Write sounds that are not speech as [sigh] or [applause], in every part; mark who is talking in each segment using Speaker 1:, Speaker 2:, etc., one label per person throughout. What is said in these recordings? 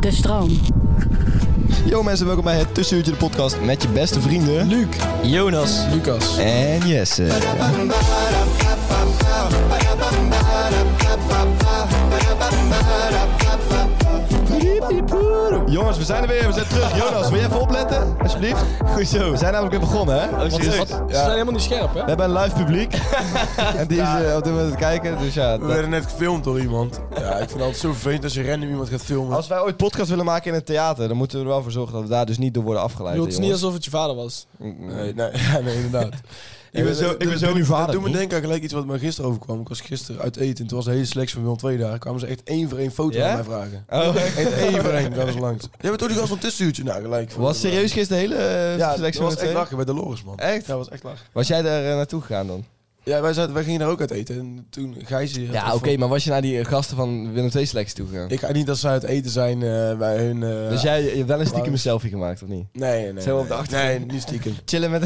Speaker 1: De stroom.
Speaker 2: Yo mensen, welkom bij het Tussenuurtje de podcast met je beste vrienden... Luc, Jonas
Speaker 3: Lucas.
Speaker 4: Eh.
Speaker 2: en Jesse. Jongens, we zijn er weer, we zijn terug. Jonas, wil je even opletten, alsjeblieft? Goed zo. We zijn namelijk weer begonnen, hè? Want
Speaker 3: Serieus?
Speaker 2: het is-
Speaker 3: Ze
Speaker 2: ja,
Speaker 3: zijn helemaal niet scherp, hè?
Speaker 2: we hebben een live publiek. en die is eh, op dit moment aan het kijken, dus ja...
Speaker 4: We
Speaker 2: dat-
Speaker 4: werden net gefilmd door iemand. Ja, ik vind het altijd zo vervelend als je random iemand gaat filmen.
Speaker 2: Als wij ooit podcast willen maken in het theater, dan moeten we er wel voor zorgen dat we daar dus niet door worden
Speaker 3: Ik
Speaker 2: afgeleid.
Speaker 3: bedoel, het is
Speaker 2: hè,
Speaker 3: niet
Speaker 2: jongens.
Speaker 3: alsof het je vader was.
Speaker 4: Nee, nee, [laughs] ja, nee inderdaad.
Speaker 2: Ik ben zo- ik ben zo uw vader
Speaker 4: Doe me
Speaker 2: niet.
Speaker 4: denken aan gelijk iets wat me gisteren overkwam. Ik was gisteren uit eten. Toen was een hele selectie van Willem 2 daar. Kwamen ze echt één voor één foto
Speaker 2: Ja?
Speaker 4: aan mij vragen.
Speaker 2: Oh.
Speaker 4: Echt één voor één. Dat was langs. Jij bent ook die gast van tussenuurtje. Nou, gelijk.
Speaker 2: Was serieus gisteren de hele eh,
Speaker 4: Ja, dat
Speaker 2: selectie van
Speaker 4: was
Speaker 2: het
Speaker 4: echt
Speaker 2: twee?
Speaker 4: lachen bij Dolores, man.
Speaker 2: Echt?
Speaker 4: Ja, was echt lachen.
Speaker 2: Was jij daar eh, naartoe gegaan dan?
Speaker 4: Ja, wij, zaten, wij gingen daar ook uit eten. En toen Gijs... die had
Speaker 2: Ja,
Speaker 4: wat
Speaker 2: oké,
Speaker 4: van-
Speaker 2: maar was je naar die eh, gasten van Willem II selectie toegegaan?
Speaker 4: Ik ga niet dat ze uit eten zijn eh, bij hun... eh,
Speaker 2: dus jij je hebt wel een stiekem
Speaker 4: Wauw.
Speaker 2: een selfie gemaakt, of niet?
Speaker 4: Nee, nee, nee.
Speaker 2: Zo op de
Speaker 4: nee.
Speaker 2: achtergrond.
Speaker 4: Nee, niet stiekem.
Speaker 2: Chillen [laughs] met...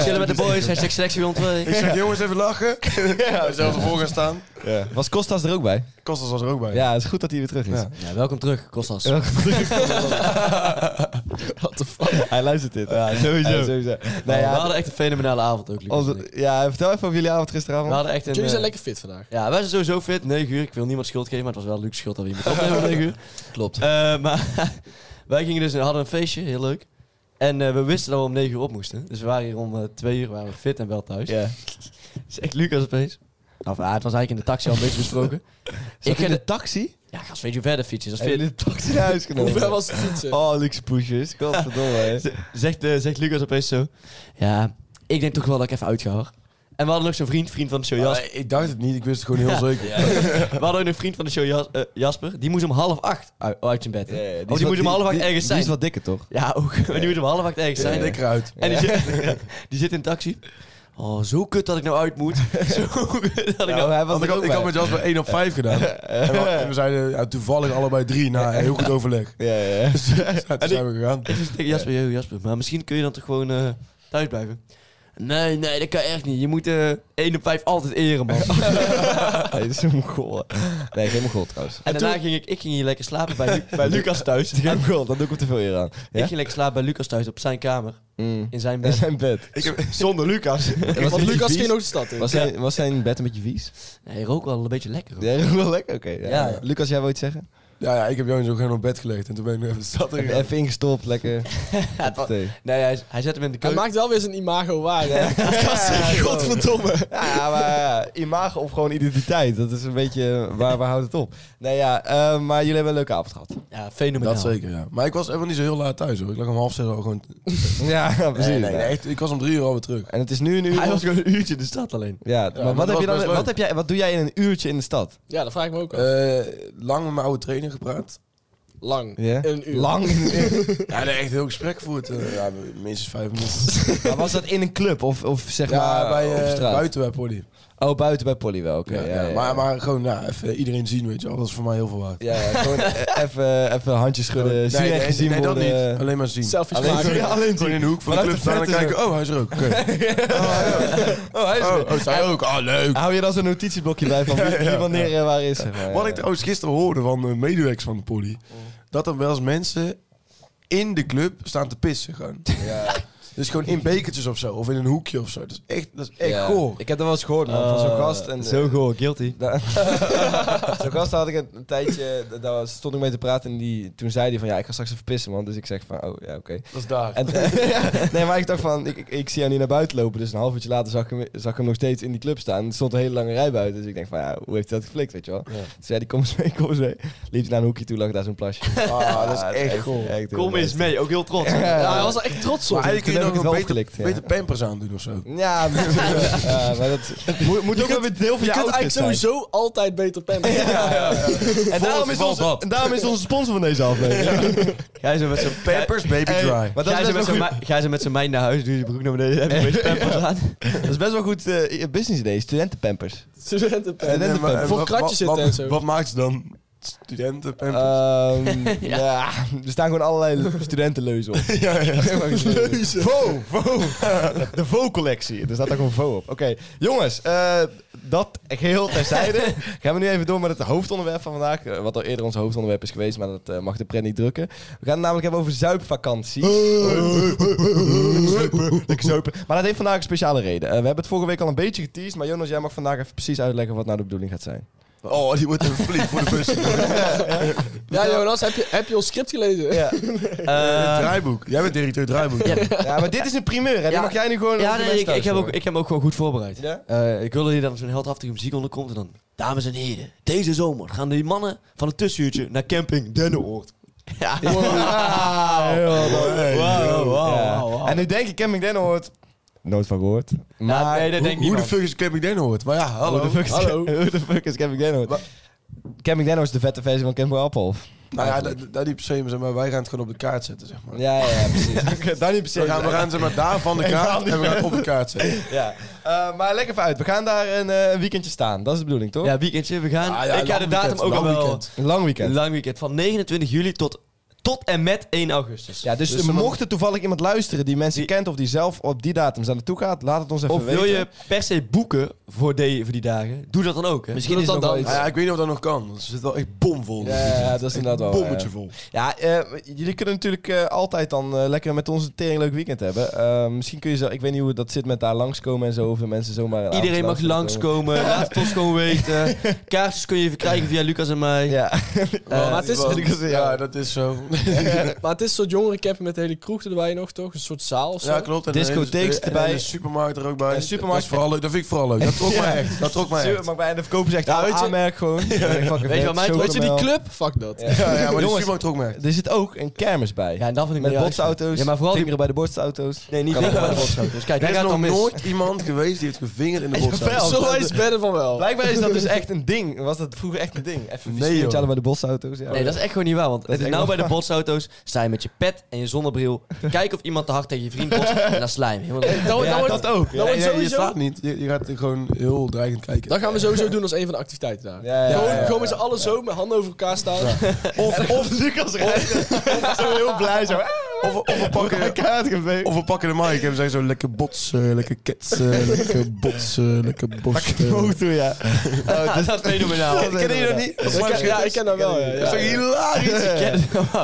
Speaker 5: Chillen met de boys, hashtag selectie rond
Speaker 4: Ik zeg, jongens, even
Speaker 2: [laughs]
Speaker 4: lachen. [laughs] Ja, zelf ervoor gaan staan.
Speaker 2: ja. Was Kostas er ook bij?
Speaker 4: Kostas was er ook bij.
Speaker 2: Ja, het is goed dat hij weer terug is.
Speaker 4: Ja.
Speaker 5: Ja, welkom terug, Kostas.
Speaker 2: Welkom [laughs] What the fuck? Hij luistert dit. Ja, sowieso. sowieso. Nou
Speaker 5: we
Speaker 2: ja,
Speaker 5: hadden echt een fenomenale avond ook, Lucas. en ik.
Speaker 2: onze- ja, vertel even over jullie avond
Speaker 5: We
Speaker 2: gisteravond.
Speaker 5: hadden echt een...
Speaker 3: Jullie zijn
Speaker 5: eh,
Speaker 3: lekker fit vandaag.
Speaker 5: Ja, wij zijn sowieso fit. 9 uur. Ik wil niemand schuld geven, maar het was wel Lucas schuld dat we iemand opnemen om 9 uur.
Speaker 2: [laughs] Klopt.
Speaker 5: Eh, maar [laughs] wij gingen dus, we hadden een feestje, heel leuk. En eh, we wisten dat we om 9 uur op moesten. Dus we waren hier om eh, 2 uur, waren we fit en wel thuis.
Speaker 2: Ja.
Speaker 5: Dus echt Lucas opeens. Nou, ah, het was eigenlijk in de taxi al een beetje
Speaker 2: [laughs]
Speaker 5: besproken.
Speaker 2: Ik
Speaker 5: ik
Speaker 2: in
Speaker 5: en
Speaker 2: de
Speaker 5: de...
Speaker 2: taxi?
Speaker 5: Ja, gast, weet je hoe verder fietsen? Dat is
Speaker 2: Heb
Speaker 5: fit.
Speaker 2: jullie de taxi naar huis
Speaker 3: Hoe ver
Speaker 2: genomen?
Speaker 3: was het fietsen?
Speaker 2: Oh, luxe pushes. Godverdomme, [laughs] hè. Oh,
Speaker 5: Z- zegt, eh, zegt Lucas opeens zo. Ja, ik denk toch wel dat ik even uitga hoor. En we hadden nog zo'n vriend, vriend van de show Jasper.
Speaker 4: Ah, ik dacht het niet, ik wist het gewoon heel zeker.
Speaker 5: We hadden ook een vriend van de show Jas- eh, Jasper. Die moest om half acht uit, uit zijn bed. hè?
Speaker 2: Ja, ja,
Speaker 5: Oh,
Speaker 2: is
Speaker 5: die
Speaker 2: wat-
Speaker 5: moet om half acht
Speaker 2: die-
Speaker 5: ergens zijn.
Speaker 2: Die is wat dikker, toch?
Speaker 5: Ja, ook. [laughs] Maar die moet om half acht ergens
Speaker 4: Zijn
Speaker 5: zijn.
Speaker 4: dikker uit.
Speaker 5: En die zit, [laughs] die zit in een taxi. Oh, zo kut dat ik nou uit moet. [laughs] Zo kut dat ik nou...
Speaker 2: hij was
Speaker 4: Want ik,
Speaker 2: er
Speaker 4: had,
Speaker 2: ook
Speaker 4: ik had
Speaker 2: bij.
Speaker 4: met Jasper 1 op 5 gedaan. En we, en we zeiden ja, toevallig allebei 3 na heel goed overleg.
Speaker 2: Ja, ja, [laughs] ja.
Speaker 4: Ja, toen zijn we gegaan.
Speaker 5: Dus Ik zeg tegen Jasper, yo Jasper, maar misschien kun je dan toch gewoon eh, thuis blijven? Nee, nee, dat kan echt niet. Je moet eh 1 op 5 altijd
Speaker 2: [laughs]
Speaker 5: eren, man.
Speaker 2: Hij is een goal. Nee, geen goal trouwens.
Speaker 5: En daarna ging ik, ik ging hier lekker slapen bij, Lu- bij Lucas thuis.
Speaker 2: Geen goal, dan doe ik hem te veel eer aan.
Speaker 5: Ik
Speaker 2: Ja?
Speaker 5: ging lekker slapen bij Lucas thuis op zijn kamer.
Speaker 2: Mm.
Speaker 5: In
Speaker 2: [laughs]
Speaker 5: zijn
Speaker 2: In
Speaker 5: bed.
Speaker 2: zijn bed.
Speaker 5: Zonder
Speaker 2: [laughs]
Speaker 5: Lucas.
Speaker 2: was
Speaker 3: Want
Speaker 2: het
Speaker 3: Lucas
Speaker 2: vies?
Speaker 3: ging ook de stad in.
Speaker 2: Was zijn, was zijn bed een beetje vies?
Speaker 5: Hij rook wel een beetje lekker. hoor.
Speaker 2: Ja, wel lekker. Oké. ja.
Speaker 5: Ja, ja.
Speaker 2: Lucas, jij wil iets zeggen?
Speaker 4: Ja, ja, ik heb jou zo gewoon op bed gelegd en toen ben ik nog even de stad in gegaan.
Speaker 2: Even ingestopt, lekker.
Speaker 5: Ja, het wa-
Speaker 2: Thee.
Speaker 5: nee, hij, hij zette hem in de
Speaker 3: Hij
Speaker 5: keuken.
Speaker 3: maakt wel weer zijn imago waar. hè?
Speaker 2: Godverdomme. Ja, maar ja, imago of gewoon identiteit. Dat is een beetje eh, waar, waar houdt het op? Nee, ja, eh, maar jullie hebben een leuke avond gehad.
Speaker 5: Ja, fenomenaal.
Speaker 4: Dat zeker, ja. Maar ik was helemaal niet zo heel laat thuis hoor. Ik lag om half zes al gewoon...
Speaker 2: [laughs] Ja, precies.
Speaker 4: Nee, nee, nee, echt, ik was om drie uur alweer terug.
Speaker 2: En het is nu een uur.
Speaker 5: Hij was gewoon een uurtje in de stad alleen.
Speaker 2: Ja, maar
Speaker 4: maar
Speaker 2: wat,
Speaker 4: dat
Speaker 2: heb je
Speaker 4: was
Speaker 2: dan,
Speaker 4: best leuk.
Speaker 2: wat, heb jij, wat doe jij in een uurtje in de stad?
Speaker 3: Ja, dat vraag ik me ook al.
Speaker 4: Eh, lang met mijn oude trainer gepraat.
Speaker 3: Lang.
Speaker 2: Ja.
Speaker 3: In Een uur.
Speaker 2: Lang.
Speaker 4: [laughs] Ja, nee, echt heel gesprek gevoerd. Eh, ja, minstens vijf minuten.
Speaker 2: maar was dat in een club of, of zeg
Speaker 4: [laughs] Ja,
Speaker 2: maar
Speaker 4: bij,
Speaker 2: op
Speaker 4: eh
Speaker 2: straat?
Speaker 4: buiten bij Polly.
Speaker 2: Oh, buiten bij Polly wel. Oké.
Speaker 4: Ja, ja, Maar, maar gewoon, nou, even iedereen zien, weet je wel. Dat is voor mij heel veel waard.
Speaker 2: Ja, ja,
Speaker 4: [laughs]
Speaker 2: gewoon eh, even, even handjes schudden.
Speaker 4: Nee,
Speaker 2: zien
Speaker 4: nee,
Speaker 2: en
Speaker 4: nee,
Speaker 2: gezien
Speaker 4: nee, dat
Speaker 2: worden.
Speaker 4: niet. Alleen maar zien.
Speaker 3: Selfies
Speaker 2: Alleen-
Speaker 3: maken.
Speaker 2: Ja, [laughs] alleen
Speaker 4: Gewoon in de hoek van de
Speaker 2: Vanuit
Speaker 4: club
Speaker 2: de
Speaker 4: staan
Speaker 2: vet
Speaker 4: en
Speaker 2: is
Speaker 4: kijken. Oh, hij is er
Speaker 2: [laughs]
Speaker 4: ook. Oké.
Speaker 2: Oh, hij is
Speaker 4: Oh, oh, zij ook. Ah, leuk.
Speaker 2: Hou je dan zo'n notitieblokje bij van wie, wie wanneer en waar is? Zeg maar,
Speaker 4: Wat
Speaker 2: ja.
Speaker 4: ik trouwens gisteren hoorde van de medewerkers van de poly... dat er wel eens mensen in de club staan te pissen gewoon. [laughs] Dus gewoon in bekertjes of zo. Of in een hoekje of zo. Dat is echt, dat is echt
Speaker 2: Ja.
Speaker 4: goor.
Speaker 2: Ik heb dat wel eens gehoord, man. van
Speaker 4: Ah.
Speaker 2: zo'n gast. En,
Speaker 5: Zo goor,
Speaker 2: [laughs]
Speaker 5: guilty.
Speaker 2: Da- Zo'n gast had ik een, een tijdje, da- daar stond ik mee te praten en die, toen zei hij van ja, ik ga straks even pissen man. Dus ik zeg van oh ja, oké.
Speaker 4: Dat is daar.
Speaker 2: En, [laughs] eh, ja, nee, maar ik dacht van, ik, ik, ik zie jou niet naar buiten lopen. Dus een half uurtje later zag ik hem, zag ik hem nog steeds in die club staan. Er stond een hele lange rij buiten. Dus ik denk van ja, hoe heeft hij dat geflikt, weet je wel.
Speaker 4: Ja.
Speaker 2: Toen zei hij kom eens mee, kom eens mee. Liep hij naar een hoekje toe, lag daar zo'n plasje.
Speaker 4: ah, dat is echt goor.
Speaker 2: cool.
Speaker 5: Kom eens mee, ook heel trots.
Speaker 3: Ja, hij was er echt trots op.
Speaker 4: Maar eigenlijk
Speaker 2: toen
Speaker 4: kun je
Speaker 2: heb ik het
Speaker 4: nog een
Speaker 2: wel
Speaker 4: beter,
Speaker 2: opgelikt, ja.
Speaker 4: beter pampers aandoen of zo.
Speaker 2: Ja, [laughs] maar, ja, maar dat moet, moet ook wel weer deel van je
Speaker 3: Je kunt
Speaker 2: outfit
Speaker 3: eigenlijk
Speaker 2: zijn.
Speaker 3: sowieso altijd beter
Speaker 2: [laughs]
Speaker 3: pampen.
Speaker 5: [laughs]
Speaker 2: En daarom, is
Speaker 5: geval
Speaker 2: onze,
Speaker 5: dat.
Speaker 2: en daarom is onze sponsor van
Speaker 5: [laughs]
Speaker 2: deze aflevering.
Speaker 5: Jij zo met zo'n
Speaker 4: Pampers baby
Speaker 2: Hey,
Speaker 4: dry.
Speaker 2: maar dat
Speaker 5: Jij
Speaker 2: is
Speaker 5: zo
Speaker 2: best
Speaker 5: met
Speaker 2: wel
Speaker 5: zo'n
Speaker 2: goed-
Speaker 5: mei- Jij zo met zo'n meid naar huis, doe je broek naar beneden, heb je een
Speaker 2: [laughs]
Speaker 5: beetje pampers aan.
Speaker 2: Dat is best wel goed eh, business idee, studentenpampers.
Speaker 3: Studentenpen.
Speaker 2: En-
Speaker 4: maar- eh,
Speaker 2: Voor
Speaker 4: wat-
Speaker 3: kratjes
Speaker 4: wat-
Speaker 3: zitten
Speaker 4: wat-
Speaker 3: en zo.
Speaker 4: Wat maakt ze dan? Studenten pampers.
Speaker 2: Ehm [laughs] ja. er staan gewoon allerlei studentenleuzen op. [laughs] ja, ja. Leuzen. Vo, vo. [laughs] De vo-collectie. Er staat ook een vo op. Oké, jongens. eh, dat geheel [laughs] terzijde. Gaan we nu even door met het hoofdonderwerp van vandaag. eh, Wat al eerder ons hoofdonderwerp is geweest, maar dat eh, mag de pret niet drukken. We gaan het namelijk hebben over [laughs] zuipvakanties. Lekker zuipen. Maar dat heeft vandaag een speciale reden. Eh, we hebben het vorige week al een beetje geteased, maar Jonas, jij mag vandaag even precies uitleggen wat nou de bedoeling gaat zijn.
Speaker 4: Oh, die wordt even flink voor
Speaker 2: [laughs]
Speaker 4: de bus.
Speaker 3: Ja, Jonas, heb je, heb je ons script gelezen?
Speaker 2: Ja,
Speaker 4: draaiboek. Jij bent directeur draaiboek.
Speaker 2: ja maar dit is een primeur, hè? Die
Speaker 5: Ja.
Speaker 2: mag jij nu gewoon
Speaker 5: Ja,
Speaker 2: over de
Speaker 5: nee, ik,
Speaker 2: mensen
Speaker 5: ik, heb
Speaker 2: thuis
Speaker 5: ook, ik heb hem ook gewoon goed voorbereid.
Speaker 2: Ja?
Speaker 5: Eh, ik wilde hier dat er zo'n heldhaftige muziek onder komt en dan... Dames en heren, deze zomer gaan die mannen van het tussenuurtje naar camping Dennenoord. Ja. Wow.
Speaker 2: Heel mooi.
Speaker 4: Hey,
Speaker 5: Wow,
Speaker 4: yo.
Speaker 5: wow,
Speaker 2: Ja.
Speaker 5: wow, wow.
Speaker 2: En nu denk ik Camping Denhoort. Nooit van gehoord. Maar
Speaker 5: Ja, nee, dat denk ik
Speaker 4: Hoe de
Speaker 5: niet.
Speaker 4: fuck is Camping Den hoort? Maar ja, hallo.
Speaker 2: hoe, de fuck is,
Speaker 4: hallo.
Speaker 2: [laughs] hoe de fuck is Camping Denhoort?
Speaker 4: Wa-
Speaker 2: Camping Denhoort is de vette versie van Camping Appelhof.
Speaker 4: Nou ja, dat dat niet per se, maar zeg maar wij gaan het gewoon op de kaart zetten, zeg maar.
Speaker 2: Ja, ja, [laughs] ja, precies. Oké, dat niet per se.
Speaker 4: We gaan, we gaan zeg maar daar van de kaart en we gaan het op de kaart zetten.
Speaker 2: [laughs] [laughs] Ja. Eh, maar lekker even uit. We gaan daar een, eh, een weekendje staan. Dat is de bedoeling, toch?
Speaker 5: Ja, weekendje, we gaan.
Speaker 4: Ah, ja,
Speaker 5: ik ga de
Speaker 4: lang
Speaker 5: datum
Speaker 4: weekend,
Speaker 5: ook al
Speaker 4: lang
Speaker 5: wel...
Speaker 4: weekend.
Speaker 2: Een lang
Speaker 5: Een
Speaker 2: weekend.
Speaker 5: lang weekend. Van 29 juli tot, tot en met 1 augustus.
Speaker 2: ja, dus,
Speaker 4: Dus
Speaker 2: eh,
Speaker 4: dan-
Speaker 2: mocht er toevallig iemand luisteren die mensen kent of die zelf op die datum aan naartoe gaat, laat het ons even
Speaker 5: Of
Speaker 2: weten.
Speaker 5: wil je per se boeken voor die, voor die dagen, doe dat dan ook. Hè?
Speaker 3: Misschien is het dan
Speaker 4: Nou ja, ik weet niet of dat nog kan. want Ze zit wel echt bomvol.
Speaker 2: Ja, ja, ja, dat is
Speaker 4: Echt
Speaker 2: inderdaad wel,
Speaker 4: bommetje
Speaker 2: ja.
Speaker 4: vol.
Speaker 2: Ja, eh, jullie kunnen natuurlijk eh, altijd dan eh, lekker met ons een tering leuk weekend hebben. Eh, misschien kun je zo, ik weet niet hoe dat zit met daar langskomen en zo, of de mensen zomaar... een
Speaker 5: Iedereen mag
Speaker 2: avond [laughs]
Speaker 5: langskomen, laat het ons gewoon weten. Kaartjes kun je verkrijgen via Lucas en mij.
Speaker 2: Ja.
Speaker 3: Eh, maar, het is,
Speaker 4: Want-
Speaker 2: [laughs] is-
Speaker 4: ja, dat is zo.
Speaker 3: maar het is een soort jongerencamping met de hele kroeg erbij nog, toch? Een soort zaal of zo.
Speaker 4: Ja, klopt. En
Speaker 2: Discotheeks
Speaker 4: en- en-
Speaker 2: erbij.
Speaker 4: En de supermarkt er ook bij.
Speaker 2: En supermarkt-
Speaker 4: Dat, is vooral leuk. dat vind ik vooral leuk. Dat trok
Speaker 2: Ja.
Speaker 4: mij echt. Dat trok mij
Speaker 2: Super,
Speaker 4: echt.
Speaker 2: maar bij de verkoper zegt,
Speaker 3: Ja,
Speaker 2: ah,
Speaker 3: weet je-
Speaker 2: aanmerk gewoon.
Speaker 5: Weet je wat mij-
Speaker 3: Weet je die club? Fuck dat.
Speaker 2: Ja.
Speaker 4: Ja, ja, maar die
Speaker 2: Jongens.
Speaker 4: supermarkt trok mij echt.
Speaker 2: Er zit ook een kermis bij.
Speaker 5: Ja, en dat vind ik
Speaker 2: met
Speaker 5: niet erg.
Speaker 2: botsauto's,
Speaker 5: Ja, maar vooral die...
Speaker 2: vingeren bij de botsauto's.
Speaker 5: Nee, niet
Speaker 2: Kan
Speaker 5: vingeren bij de
Speaker 2: ook.
Speaker 5: botsauto's. Kijk,
Speaker 4: Er
Speaker 5: daar
Speaker 4: is
Speaker 5: gaat het
Speaker 4: nog
Speaker 5: dan mis.
Speaker 4: nooit iemand geweest die heeft gevingerd in de botsauto.
Speaker 2: Jawel.
Speaker 3: Zo hij is better van wel.
Speaker 2: Blijkbaar is dat dus echt een ding. Was dat vroeger echt een ding? Even
Speaker 4: Nee,
Speaker 2: nee,
Speaker 4: joh.
Speaker 2: bij de botsauto's. Ja.
Speaker 5: Nee, dat is echt gewoon niet waar. Want
Speaker 2: Dat is
Speaker 5: het is
Speaker 2: echt
Speaker 5: nou
Speaker 2: wel [laughs]
Speaker 5: bij de botsauto's, sta je met je pet en je zonnebril. Kijk of iemand te hard tegen je vriend botst en dan slijm.
Speaker 2: [laughs]
Speaker 5: Helemaal
Speaker 3: Eh, Dan, dan wordt-
Speaker 2: dat ook.
Speaker 3: dan wordt
Speaker 4: Ja, je
Speaker 3: sowieso,
Speaker 4: staat niet. Je, je gaat gewoon heel dreigend kijken.
Speaker 3: dat gaan we sowieso doen als een van de activiteiten daar.
Speaker 2: Ja, ja,
Speaker 3: gewoon,
Speaker 2: ja, ja.
Speaker 3: gewoon met z'n allen zo met handen over elkaar staan.
Speaker 2: Of, of Lucas [laughs] rijdt. zo heel blij zo. "Ah,
Speaker 4: Of, we- of, we
Speaker 2: [laughs]
Speaker 4: pakken, of we pakken de mic en we zeggen zo lekker botsen, lekker ketsen, [laughs] lekker botsen, lekker botsen.
Speaker 2: toe, ja. Oh, [laughs] dat
Speaker 5: Dat is fenomenaal.
Speaker 2: Kennen jullie dat niet?
Speaker 3: Ik ken- ja, ik ken dat wel. Ja,
Speaker 4: [laughs] Dat
Speaker 2: [laughs]
Speaker 4: is
Speaker 3: ja.
Speaker 4: toch hilarisch?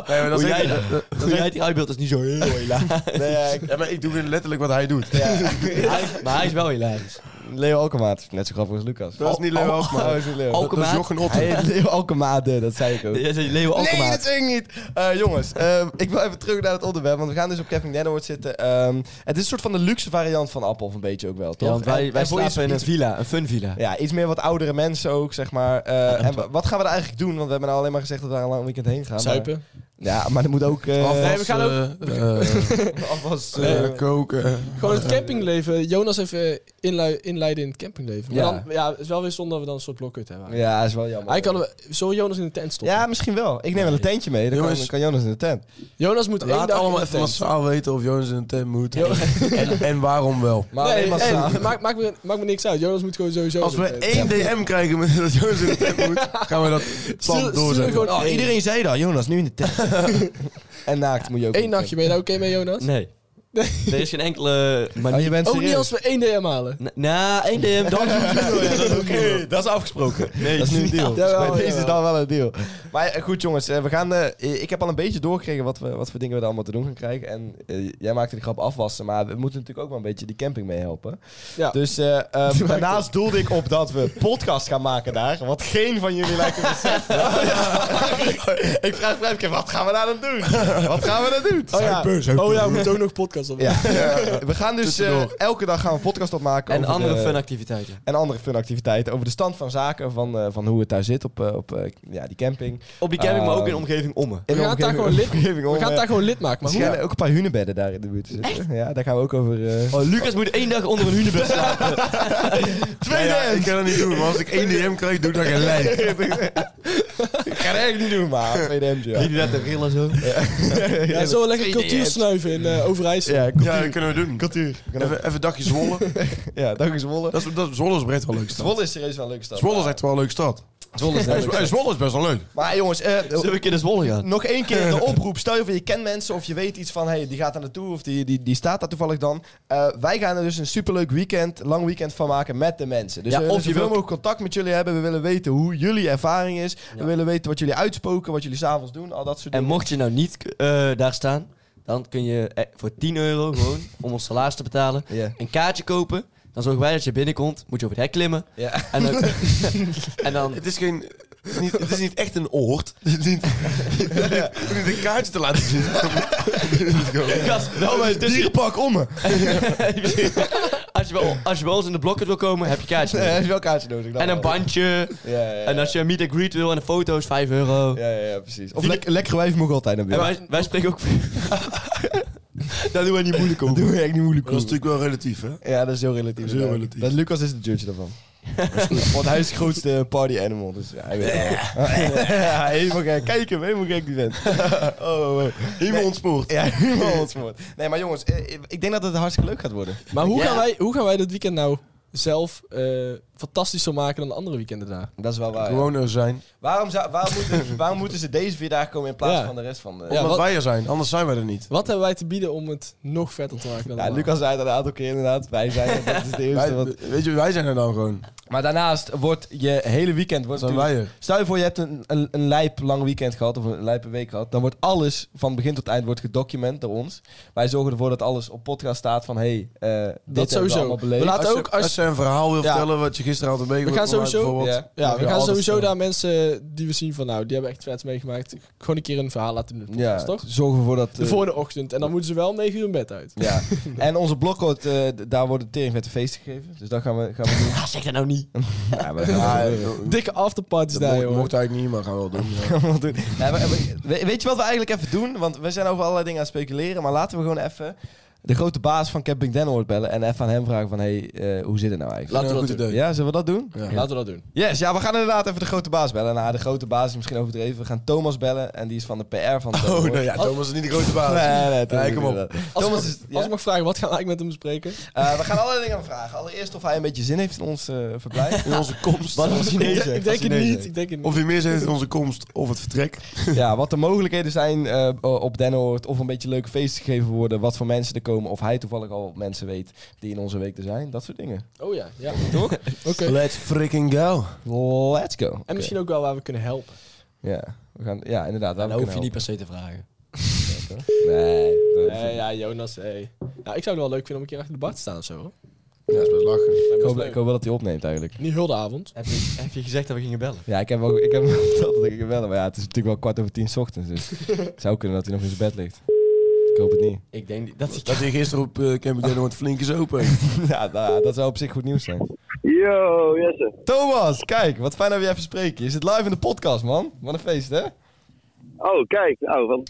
Speaker 4: Nee, maar dat
Speaker 5: Hoe
Speaker 4: is
Speaker 5: jij
Speaker 4: echt-
Speaker 5: dat- hoe jij het hier uitbeeldt is niet zo heel hilarisch.
Speaker 2: Nee, ja, ik-
Speaker 4: Ja, maar ik doe weer letterlijk wat hij doet.
Speaker 5: Hij- Maar hij is wel hilarisch.
Speaker 2: Leo Alkemaat. Net zo grappig als Lucas.
Speaker 4: Dat is niet Leo Alkmaar.
Speaker 2: Oh, is niet Leo.
Speaker 5: Al-
Speaker 4: Dat is
Speaker 5: Alkmaar?
Speaker 4: Jochen Otten.
Speaker 2: Hij heet Leo Alkemaat, eh, dat zei ik ook.
Speaker 5: Jij zei Leo
Speaker 2: Nee,
Speaker 5: Alkemaat.
Speaker 2: dat zeg ik niet. Eh, jongens, eh, ik wil even terug naar het onderwerp. Want we gaan dus op Kevin Denhoort zitten. Ehm, het is een soort van de luxe variant van Appel, een beetje ook wel, toch?
Speaker 5: Ja, want
Speaker 2: En-
Speaker 5: wij, wij
Speaker 2: en voor
Speaker 5: slapen in een
Speaker 2: iets,
Speaker 5: villa, een fun villa.
Speaker 2: Ja, iets meer wat oudere mensen ook, zeg maar. Eh, en wa- wat gaan we daar eigenlijk doen? Want we hebben nou alleen maar gezegd dat we daar een lang weekend heen gaan.
Speaker 3: Zuipen.
Speaker 2: Maar, ja, maar dat moet ook... eh,
Speaker 4: Afwas,
Speaker 3: nee, we gaan
Speaker 4: eh, eh,
Speaker 2: afwas, eh,
Speaker 4: eh, koken.
Speaker 3: Gewoon het campingleven. Jonas even inlui- inleiden in het campingleven. Maar
Speaker 2: Ja.
Speaker 3: dan, ja, het is wel weer zonde dat we dan een soort blokhut hebben.
Speaker 2: ja, is wel jammer.
Speaker 3: Eigenlijk hadden we... Zullen we Jonas in de tent stoppen?
Speaker 2: Ja, misschien wel. Ik neem wel een tentje mee. Dan kan,
Speaker 4: Jongens.
Speaker 2: dan kan Jonas in de tent.
Speaker 3: Jonas moet één
Speaker 4: Laat
Speaker 3: dag
Speaker 4: allemaal
Speaker 3: in de
Speaker 4: even
Speaker 3: tent.
Speaker 4: massaal weten of Jonas in een tent moet. En, en waarom wel.
Speaker 2: Maar
Speaker 3: nee,
Speaker 2: alleen maar
Speaker 3: hey,
Speaker 2: samen.
Speaker 3: maakt, maakt, me, maakt me niks uit. Jonas moet gewoon sowieso...
Speaker 4: Als we
Speaker 3: in de tent.
Speaker 4: één DM krijgen met dat Jonas in een tent moet, gaan we dat plan
Speaker 3: Stuur- stuur
Speaker 4: doorzetten.
Speaker 3: gewoon-
Speaker 2: Oh, [laughs] iedereen zei dat. Jonas, nu in de tent. en naakt moet je ook
Speaker 3: Eén
Speaker 2: in de [laughs]
Speaker 3: nachtje, ben je daar oké mee, Jonas?
Speaker 5: Nee. er is geen enkele manier.
Speaker 2: je bent
Speaker 3: Ook
Speaker 2: [laughs]
Speaker 3: niet
Speaker 2: serieus.
Speaker 3: als we één DM
Speaker 4: [laughs]
Speaker 3: halen.
Speaker 5: Na, na, één DM, dan [laughs]
Speaker 2: Oké, dat is afgesproken. Nee, dat is nu een deal.
Speaker 3: Ja,
Speaker 2: Bij
Speaker 3: [laughs] jawel,
Speaker 2: deze is
Speaker 3: jawel.
Speaker 2: dan wel een deal. Maar eh, goed jongens, eh, we gaan, eh, ik heb al een beetje doorgekregen wat, we, wat voor dingen we er allemaal te doen gaan krijgen. En eh, jij maakte de grap afwassen, maar we moeten natuurlijk ook wel een beetje die camping meehelpen.
Speaker 3: Ja.
Speaker 2: Dus
Speaker 3: [laughs]
Speaker 2: eh, ehm, daarnaast doelde ik op dat we podcast gaan maken daar, wat geen van jullie lijkt te
Speaker 3: [laughs]
Speaker 2: beseffen.
Speaker 3: Oh,
Speaker 2: [laughs] ik vraag Fredke, wat gaan we daar dan doen? Wat gaan we dan doen?
Speaker 3: Oh ja,
Speaker 4: Zuipen, zuipen.
Speaker 3: oh, ja we moeten ook nog podcast op. [laughs]
Speaker 2: Ja. We gaan dus eh,
Speaker 4: Tussendoor.
Speaker 2: elke dag gaan we een podcast opmaken.
Speaker 5: En
Speaker 2: over
Speaker 5: andere
Speaker 2: de-
Speaker 5: funactiviteiten.
Speaker 2: en andere funactiviteiten. Over de stand van zaken, van, eh, van hoe het daar zit op, eh, op eh, ja, die camping.
Speaker 5: Op die camping, maar ook in de
Speaker 2: Ehm,
Speaker 5: omgeving omme.
Speaker 2: In de
Speaker 3: gaan het daar
Speaker 2: omgeving-
Speaker 3: gewoon lid-
Speaker 2: omgeving om,
Speaker 3: We gaan het
Speaker 2: eh,
Speaker 3: daar gewoon lid maken. Maar
Speaker 2: er
Speaker 3: hoe?
Speaker 2: schijnen ook een paar hunebedden daar in de buurt te zitten. Ja, daar gaan we ook over... eh,
Speaker 5: Oh, Lucas moet één dag onder een hunebed [laughs] slapen.
Speaker 4: Nou ja, ik kan dat niet doen, maar als ik één DM krijg, doe ik dat gelijk.
Speaker 2: ik ga [laughs] dat echt niet doen, [laughs] maar 2 DM's, ja.
Speaker 5: Liet hij dat te rillen [laughs] zo?
Speaker 3: Ja, zo lekker cultuur snuiven in eh, Overijssel.
Speaker 2: Ja,
Speaker 4: Ja,
Speaker 2: cultuur.
Speaker 4: dat kunnen we doen.
Speaker 2: cultuur. We gaan
Speaker 4: Even, even een dagje Zwolle.
Speaker 2: even- Ja, dank je Zwolle.
Speaker 4: Dat is, dat, Zwolle is echt wel een leuke stad.
Speaker 2: Zwolle is serieus wel een leuke stad.
Speaker 4: Zwolle is echt wel een leuke stad.
Speaker 2: Zwolle is een
Speaker 4: En
Speaker 2: leuke
Speaker 4: Zw-
Speaker 2: stad.
Speaker 4: en Zwolle is best wel leuk.
Speaker 2: Maar jongens, eh,
Speaker 5: Zullen we een keer naar Zwolle gaan?
Speaker 2: nog één keer
Speaker 5: [laughs]
Speaker 2: de oproep. Stel je voor, je kent mensen of je weet iets van... Hey, die gaat daar naartoe of die, die, die staat daar toevallig dan. Eh, wij gaan er dus een superleuk weekend, lang weekend van maken met de mensen. Dus
Speaker 5: Ja,
Speaker 2: we
Speaker 5: of
Speaker 2: willen
Speaker 5: je
Speaker 2: zoveel
Speaker 5: wilt-
Speaker 2: mogelijk contact met jullie hebben. We willen weten hoe jullie ervaring is. We
Speaker 5: Ja.
Speaker 2: willen weten wat jullie uitspoken, wat jullie s'avonds doen. Al dat soort
Speaker 5: En
Speaker 2: dingen.
Speaker 5: mocht je nou niet eh, daar staan, dan kun je eh, voor 10 euro gewoon, [laughs] om ons salaris te betalen,
Speaker 2: Ja.
Speaker 5: een kaartje kopen. Dan zorgen wij dat je binnenkomt. Moet je over het hek klimmen. [laughs]
Speaker 2: Ja.
Speaker 5: En dan... en dan
Speaker 4: Het is, geen, het, is niet, het is niet echt een oord. [laughs] Het is niet, het is niet een kaartje te laten [laughs] zien.
Speaker 5: [laughs] Gast, nou, maar het is-
Speaker 2: Dierenpak [laughs] om me.
Speaker 5: als, je bij, als je bij ons in de blokken wil komen, heb je kaartje
Speaker 2: Nee,
Speaker 5: nodig.
Speaker 2: heb je wel kaartje nodig. dan
Speaker 5: En een
Speaker 2: wel.
Speaker 5: bandje.
Speaker 2: Ja, ja, ja.
Speaker 5: En als je een meet and greet wil en een foto is 5 euro.
Speaker 2: Ja, ja, ja, precies. Of
Speaker 5: Die-
Speaker 2: lek- lekker wijf mag altijd naar
Speaker 5: En
Speaker 2: binnen.
Speaker 5: wij, wij spreken ook... dat doen wij niet moeilijk
Speaker 2: Dat
Speaker 5: om.
Speaker 2: doe je echt niet moeilijk
Speaker 4: Dat is natuurlijk wel relatief, hè?
Speaker 2: Ja, dat is heel relatief.
Speaker 4: Dat is heel
Speaker 2: inderdaad.
Speaker 4: relatief.
Speaker 2: Dat Lucas is de judge daarvan. Want hij is de grootste party animal, dus hij weet het [laughs] wel. Helemaal gek. Kijk hem, helemaal gek die vent. Oh, oh, oh.
Speaker 4: Helemaal ontspoord.
Speaker 2: Ja, helemaal ontspoord. Nee, maar jongens, eh, ik denk dat het hartstikke leuk gaat worden.
Speaker 3: Maar hoe,
Speaker 5: Ja.
Speaker 3: gaan wij, hoe gaan wij dat weekend nou zelf eh, fantastischer maken dan de andere weekenden daar?
Speaker 2: Dat is wel waar. ja.
Speaker 4: Gewoon er zijn.
Speaker 2: Waarom, zou, waarom,
Speaker 4: [laughs]
Speaker 2: moeten, waarom moeten ze deze vier dagen komen in plaats
Speaker 3: Ja.
Speaker 2: van de rest van de...
Speaker 3: Ja,
Speaker 4: Omdat
Speaker 3: wat-
Speaker 4: wij er zijn, anders zijn wij er niet.
Speaker 3: Wat hebben wij te bieden om het nog vetter te maken dan
Speaker 2: Ja,
Speaker 3: normaal?
Speaker 2: Lucas zei het een aantal keer inderdaad. Wij zijn het, dat is de eerste.
Speaker 4: Wij,
Speaker 2: Wat...
Speaker 4: weet je, wij zijn er dan gewoon.
Speaker 2: Maar daarnaast wordt je hele weekend...
Speaker 4: Dan
Speaker 2: Wordt
Speaker 4: zijn
Speaker 2: natuurlijk-
Speaker 4: wij er.
Speaker 2: Stel je voor, je hebt een, een, een lijp lang weekend gehad of een lijpe week gehad. Dan wordt alles van begin tot eind wordt gedocument door ons. Wij zorgen ervoor dat alles op podcast staat van hey, eh, dit
Speaker 3: Dat
Speaker 2: hebben we
Speaker 3: sowieso.
Speaker 2: allemaal
Speaker 3: We
Speaker 2: beleefd.
Speaker 3: laten
Speaker 4: Als je,
Speaker 3: ook als,
Speaker 4: als je een verhaal wil
Speaker 2: Ja.
Speaker 4: vertellen wat je gisteren had meegemaakt.
Speaker 3: gaan sowieso-
Speaker 4: bijvoorbeeld,
Speaker 2: Ja.
Speaker 3: ja,
Speaker 4: mag
Speaker 3: we
Speaker 4: je
Speaker 3: gaan
Speaker 4: altijd
Speaker 3: sowieso
Speaker 4: vertellen.
Speaker 3: daar mensen die we zien van nou, die hebben echt vets meegemaakt. Gewoon een keer een verhaal laten doen. in de
Speaker 2: ja,
Speaker 3: podcast, toch?
Speaker 2: zorgen ervoor dat...
Speaker 3: De
Speaker 2: eh,
Speaker 3: volgende ochtend. En dan moeten ze wel om 9 uur in bed uit.
Speaker 2: ja.
Speaker 3: [laughs]
Speaker 2: En onze blokcode, eh, d- daar worden tering met de feesten gegeven. Dus dat gaan we, gaan
Speaker 3: [laughs]
Speaker 2: we
Speaker 5: Ah, zeg dat nou niet.
Speaker 2: doen. ja, maar dat
Speaker 4: Ja,
Speaker 2: gaan we
Speaker 4: dat-
Speaker 3: Dikke afterparties daar,
Speaker 4: dat
Speaker 3: joh.
Speaker 4: mo- mocht eigenlijk niet, maar gaan we wel
Speaker 3: [laughs]
Speaker 4: doen. ja.
Speaker 2: allemaal doen. Ja, maar, we- we- weet je wat we eigenlijk even doen? Want we zijn over allerlei dingen aan het speculeren. Maar laten we gewoon even de grote baas van Camping Den Hoort bellen. En even aan hem vragen van hey, eh, hoe zit het nou eigenlijk?
Speaker 3: Laten we
Speaker 4: Een
Speaker 3: dat
Speaker 4: goed
Speaker 3: doen.
Speaker 4: idee.
Speaker 2: Ja, zullen we dat doen?
Speaker 4: Ja.
Speaker 3: Laten we dat doen.
Speaker 2: Yes, ja, we gaan inderdaad even de grote baas bellen. Nou, de grote baas is misschien overdreven. We gaan Thomas bellen en die is van de PR van Thomas.
Speaker 4: Oh, nou ja, Thomas is niet de grote
Speaker 2: [laughs]
Speaker 4: baas.
Speaker 2: Nee, nee, Thomas
Speaker 4: Nee, kom op.
Speaker 2: is inderdaad.
Speaker 3: Als,
Speaker 2: Thomas
Speaker 3: ik,
Speaker 2: is... ja.
Speaker 3: als ik mag vragen, wat gaan we eigenlijk met hem
Speaker 2: [laughs]
Speaker 3: bespreken?
Speaker 2: Eh, we gaan allerlei dingen vragen. Allereerst of hij een beetje zin heeft in ons eh,
Speaker 4: [laughs]
Speaker 2: verblijf.
Speaker 4: In onze komst.
Speaker 2: Wat als
Speaker 3: Ik,
Speaker 2: Chinees
Speaker 3: denk- ik
Speaker 2: zegt,
Speaker 3: denk
Speaker 2: als
Speaker 3: het
Speaker 2: Chinees
Speaker 3: niet.
Speaker 2: zegt.
Speaker 3: Ik denk het niet.
Speaker 4: Of je meer zit in onze komst of het vertrek.
Speaker 2: Ja, wat de mogelijkheden zijn eh, op Den Hoort. Of een beetje leuke feesten gegeven worden. Wat voor mensen er komen. Of hij toevallig al mensen weet die in onze week er zijn. Dat soort dingen.
Speaker 3: Oh ja, ja. Toch? Oké.
Speaker 4: Let's freaking go.
Speaker 2: Let's go. Oké.
Speaker 3: En misschien ook wel waar we kunnen helpen.
Speaker 2: Ja, we gaan, ja inderdaad. daar
Speaker 5: Dan Nou hoef je niet per se te vragen.
Speaker 2: Nee. dat hoef je
Speaker 3: Eh, ja, Jonas, hey. Nou, ik zou het wel leuk vinden om een keer achter de bar te staan of zo. hoor.
Speaker 4: Ja, is best
Speaker 2: niet.
Speaker 4: lachen.
Speaker 3: Lijkt me
Speaker 2: Ik
Speaker 3: best
Speaker 2: hoop, ik
Speaker 3: leuk.
Speaker 2: hoop wel dat hij opneemt eigenlijk.
Speaker 3: Niet heel de avond.
Speaker 5: Heb je, heb je gezegd dat we gingen bellen?
Speaker 2: Ja, ik heb ook, ik heb hem [laughs] verteld dat ik hem bellen, maar ja, het is natuurlijk wel kwart over tien 's ochtends, dus het zou kunnen dat hij nog in zijn bed ligt. Ik hoop het niet. [laughs]
Speaker 5: Ik denk [laughs] dat...
Speaker 4: Dat hij gisteren op eh Camping Deno het flink is open.
Speaker 3: [laughs]
Speaker 2: ja, nou, dat zou op zich goed nieuws zijn.
Speaker 1: Yo, Jesse.
Speaker 2: Thomas, kijk, wat fijn dat we je even spreken. Je zit live in de podcast, man. Wat een feest, hè?
Speaker 1: Oh, kijk. Nou, wat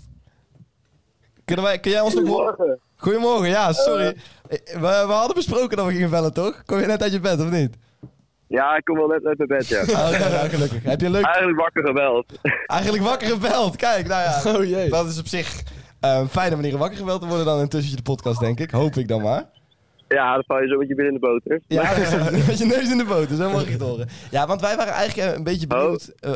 Speaker 2: Kunnen wij, kun jij ons nog horen?
Speaker 1: morgen.
Speaker 2: Goedemorgen, ja, sorry. Eh, We, we hadden besproken dat we gingen bellen, toch? Kom je net uit je bed, of niet?
Speaker 1: Ja, ik kom wel net uit mijn
Speaker 2: [laughs]
Speaker 1: bed, ja. Ah.
Speaker 2: Ah, oké, nou, gelukkig. Heb je leuk,
Speaker 1: Eigenlijk wakker gebeld.
Speaker 2: eigenlijk wakker gebeld? Kijk, nou ja.
Speaker 3: Oh jee.
Speaker 2: Dat is op zich eh, een fijne manier om wakker gebeld te worden dan intussen de podcast, denk ik. Hoop ik dan maar.
Speaker 1: [laughs] Ja, dan val je zo met je binnen in de boter.
Speaker 2: Ja, met je neus in de boter, zo mag je het horen. Ja, want wij waren eigenlijk eh, een beetje benieuwd. eh,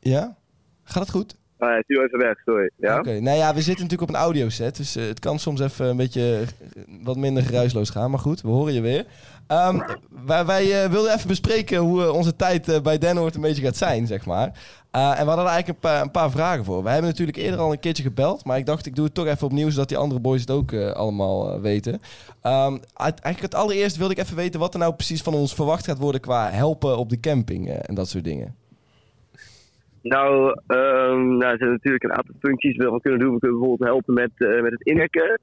Speaker 2: ja? Gaat het goed?
Speaker 1: Oh, hij is nu even weg, sorry. Ja?
Speaker 2: Oké, nou ja, we zitten natuurlijk op een audioset, dus eh, het kan soms even een beetje eh, wat minder geruisloos gaan. Maar goed, we horen je weer. Ehm, wij wij eh, wilden even bespreken hoe eh, onze tijd eh, bij Den Hoort een beetje gaat zijn, zeg maar. Eh, en we hadden er eigenlijk een paar, een paar vragen voor. We hebben natuurlijk eerder al een keertje gebeld, maar ik dacht ik doe het toch even opnieuw, zodat die andere boys het ook eh, allemaal eh, weten. Ehm, uit- eigenlijk het allereerst wilde ik even weten wat er nou precies van ons verwacht gaat worden qua helpen op de camping eh, en dat soort dingen.
Speaker 1: Nou, ehm, nou, er zijn natuurlijk een aantal functies die we wel kunnen doen. We kunnen bijvoorbeeld helpen met, eh, met het inhekken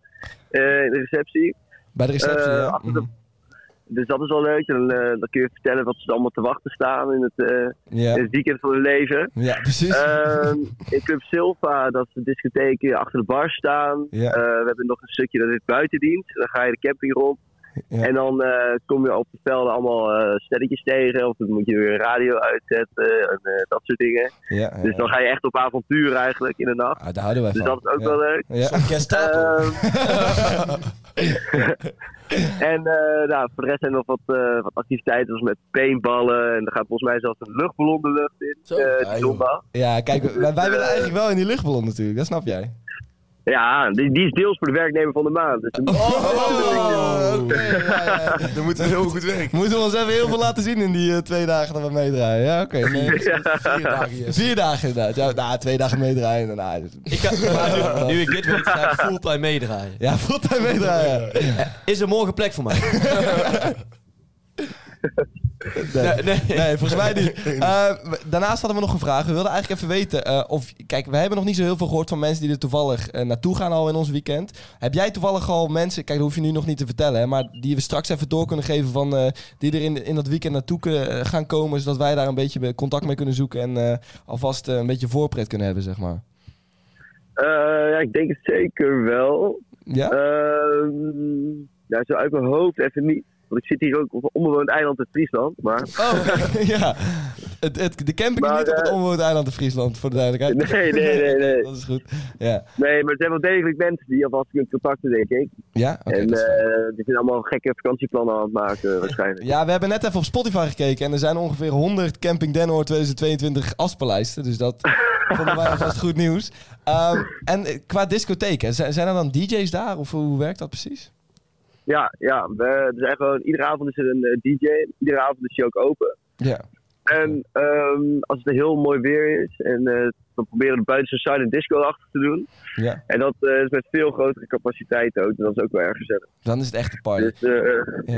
Speaker 1: eh, in de receptie.
Speaker 2: Bij de receptie,
Speaker 1: Eh,
Speaker 2: ja. Mhm.
Speaker 1: achter de- Dus dat is wel leuk. Dan, eh, dan kun je vertellen wat ze allemaal te wachten staan in het, eh, in
Speaker 2: ja.
Speaker 1: het weekend van hun leven.
Speaker 2: ja, precies.
Speaker 1: Ehm, in Club Silva, dat is de discotheek die achter de bar staan.
Speaker 2: Ja.
Speaker 1: Eh, we hebben nog een stukje dat is buitendienst. Dan ga je de camping rond.
Speaker 2: Ja.
Speaker 1: En dan eh, kom je op de velden allemaal eh stelletjes tegen. Of dan moet je weer een radio uitzetten en eh, dat soort dingen.
Speaker 2: ja, ja,
Speaker 1: Dus dan
Speaker 2: ja.
Speaker 1: ga je echt op avontuur eigenlijk in de nacht.
Speaker 2: Ah, daar houden wij
Speaker 1: Dus
Speaker 2: van.
Speaker 1: dat is ook
Speaker 2: Ja.
Speaker 1: wel leuk.
Speaker 2: Ja.
Speaker 1: Ehm,
Speaker 2: [laughs]
Speaker 1: en eh, nou, voor de rest zijn er nog wat, eh, wat activiteiten zoals met paintballen. En er gaat volgens mij zelfs een luchtballon de lucht in.
Speaker 3: Zo.
Speaker 1: eh,
Speaker 4: Ja, joh.
Speaker 1: zondag.
Speaker 2: ja, kijk, wij, wij willen eigenlijk wel in die luchtballon natuurlijk, dat snap jij.
Speaker 1: Ja, die, die is deels voor de werknemer van de maand. Dus dan-
Speaker 2: Oh, oké. ja, ja.
Speaker 1: [laughs]
Speaker 4: Dan moet heel goed werk.
Speaker 2: Moeten we ons even heel veel laten zien in die eh, twee dagen dat we meedraaien. Ja, oké. nee.
Speaker 4: Vier dagen, yes.
Speaker 2: Vier dagen inderdaad. Ja, nou, twee dagen meedraaien. Nou,
Speaker 5: Ik ga, maar nu, nu ik dit weet, ga ik fulltime meedraaien.
Speaker 2: ja, [laughs] fulltime meedraaien.
Speaker 5: Is er morgen plek voor mij?
Speaker 2: Nee,
Speaker 5: nee.
Speaker 2: nee, volgens mij
Speaker 1: [laughs]
Speaker 2: niet. Eh, we- daarnaast hadden we nog een vraag. We wilden eigenlijk even weten eh, of... Kijk, we hebben nog niet zo heel veel gehoord van mensen die er toevallig eh, naartoe gaan al in ons weekend. Heb jij toevallig al mensen... Kijk, dat hoef je nu nog niet te vertellen, hè, maar die we straks even door kunnen geven van... eh, die er in, in dat weekend naartoe kunnen- gaan komen, zodat wij daar een beetje be- contact mee kunnen zoeken en eh, alvast eh, een beetje voorpret kunnen hebben, zeg maar.
Speaker 1: Eh, ja, ik denk het zeker wel.
Speaker 2: Ja?
Speaker 1: Ehm, ja, zo uit mijn hoofd even niet. Want ik zit hier ook op een onbewoond eiland in Friesland. Maar
Speaker 2: Oh, [laughs] ja. Het, het, de camping is
Speaker 1: Maar,
Speaker 2: niet op het
Speaker 1: eh,
Speaker 2: onbewoond eiland in Friesland, voor de duidelijkheid.
Speaker 1: [laughs] nee, nee, nee,
Speaker 2: [laughs]
Speaker 1: nee.
Speaker 2: Dat is goed. Ja,
Speaker 1: Nee, maar er zijn wel degelijk mensen die alvast kunnen contacten, denk ik.
Speaker 2: ja? Oké,
Speaker 1: en
Speaker 2: dat is fijn.
Speaker 1: eh, die zijn allemaal gekke vakantieplannen aan het maken, waarschijnlijk.
Speaker 2: Ja, we hebben net even op Spotify gekeken en er zijn ongeveer 100 Camping Den Hoor 2022 afspeellijsten. Dus dat
Speaker 1: [laughs]
Speaker 2: vonden wij alvast goed nieuws. Ehm, en eh, qua discotheek, hè, zijn, zijn er dan DJ's daar of hoe werkt dat precies?
Speaker 1: Ja, ja. We, er zijn gewoon, iedere avond is er een eh, DJ. Iedere avond is hij ook open.
Speaker 2: Ja.
Speaker 1: En ehm, als het heel mooi weer is, en eh, dan proberen we buiten zijn silent disco achter te doen.
Speaker 2: ja.
Speaker 1: En dat eh, is met veel grotere capaciteit ook. En dat is ook wel erg gezellig.
Speaker 2: Dan is het echt een party.
Speaker 1: Dus eh,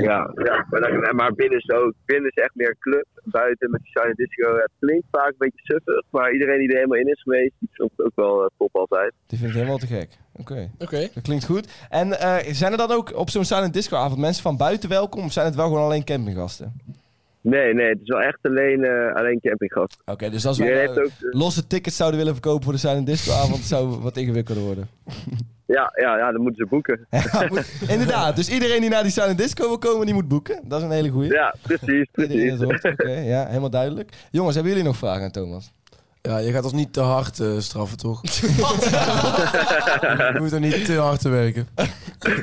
Speaker 2: Ja.
Speaker 1: ja, ja. Maar, dan- maar binnen is het ook. Binnen is echt meer een club. Buiten met die silent disco. ja, Het klinkt vaak een beetje suffig. Maar iedereen die er helemaal in is geweest, die vindt het ook wel eh, top altijd.
Speaker 2: Die vind ik helemaal te gek. Oké,
Speaker 3: Oké. Oh,
Speaker 2: dat klinkt goed. En eh, zijn er dan ook op zo'n silent discoavond mensen van buiten welkom of zijn het wel gewoon alleen campinggasten?
Speaker 1: Nee, nee. Het is wel echt alleen, eh, alleen campinggast.
Speaker 2: Oké, dus als wij
Speaker 1: Iedereen
Speaker 2: nou
Speaker 1: heeft ook... eh,
Speaker 2: losse tickets zouden willen verkopen voor de silent discoavond, zou wat ingewikkelder worden.
Speaker 1: ja, ja, ja, dan moeten ze boeken.
Speaker 2: Ja, moet- inderdaad, dus iedereen die naar die silent disco wil komen, die moet boeken. Dat is een hele goeie.
Speaker 1: Ja, precies.
Speaker 2: [laughs] Iedereen
Speaker 1: precies.
Speaker 2: het hoort. Oké, ja, helemaal duidelijk. Jongens, hebben jullie nog vragen aan Thomas?
Speaker 4: Ja, je gaat ons niet te hard eh, straffen,
Speaker 3: [laughs]
Speaker 4: toch? je moet er niet te hard te werken.
Speaker 1: [laughs] Nee,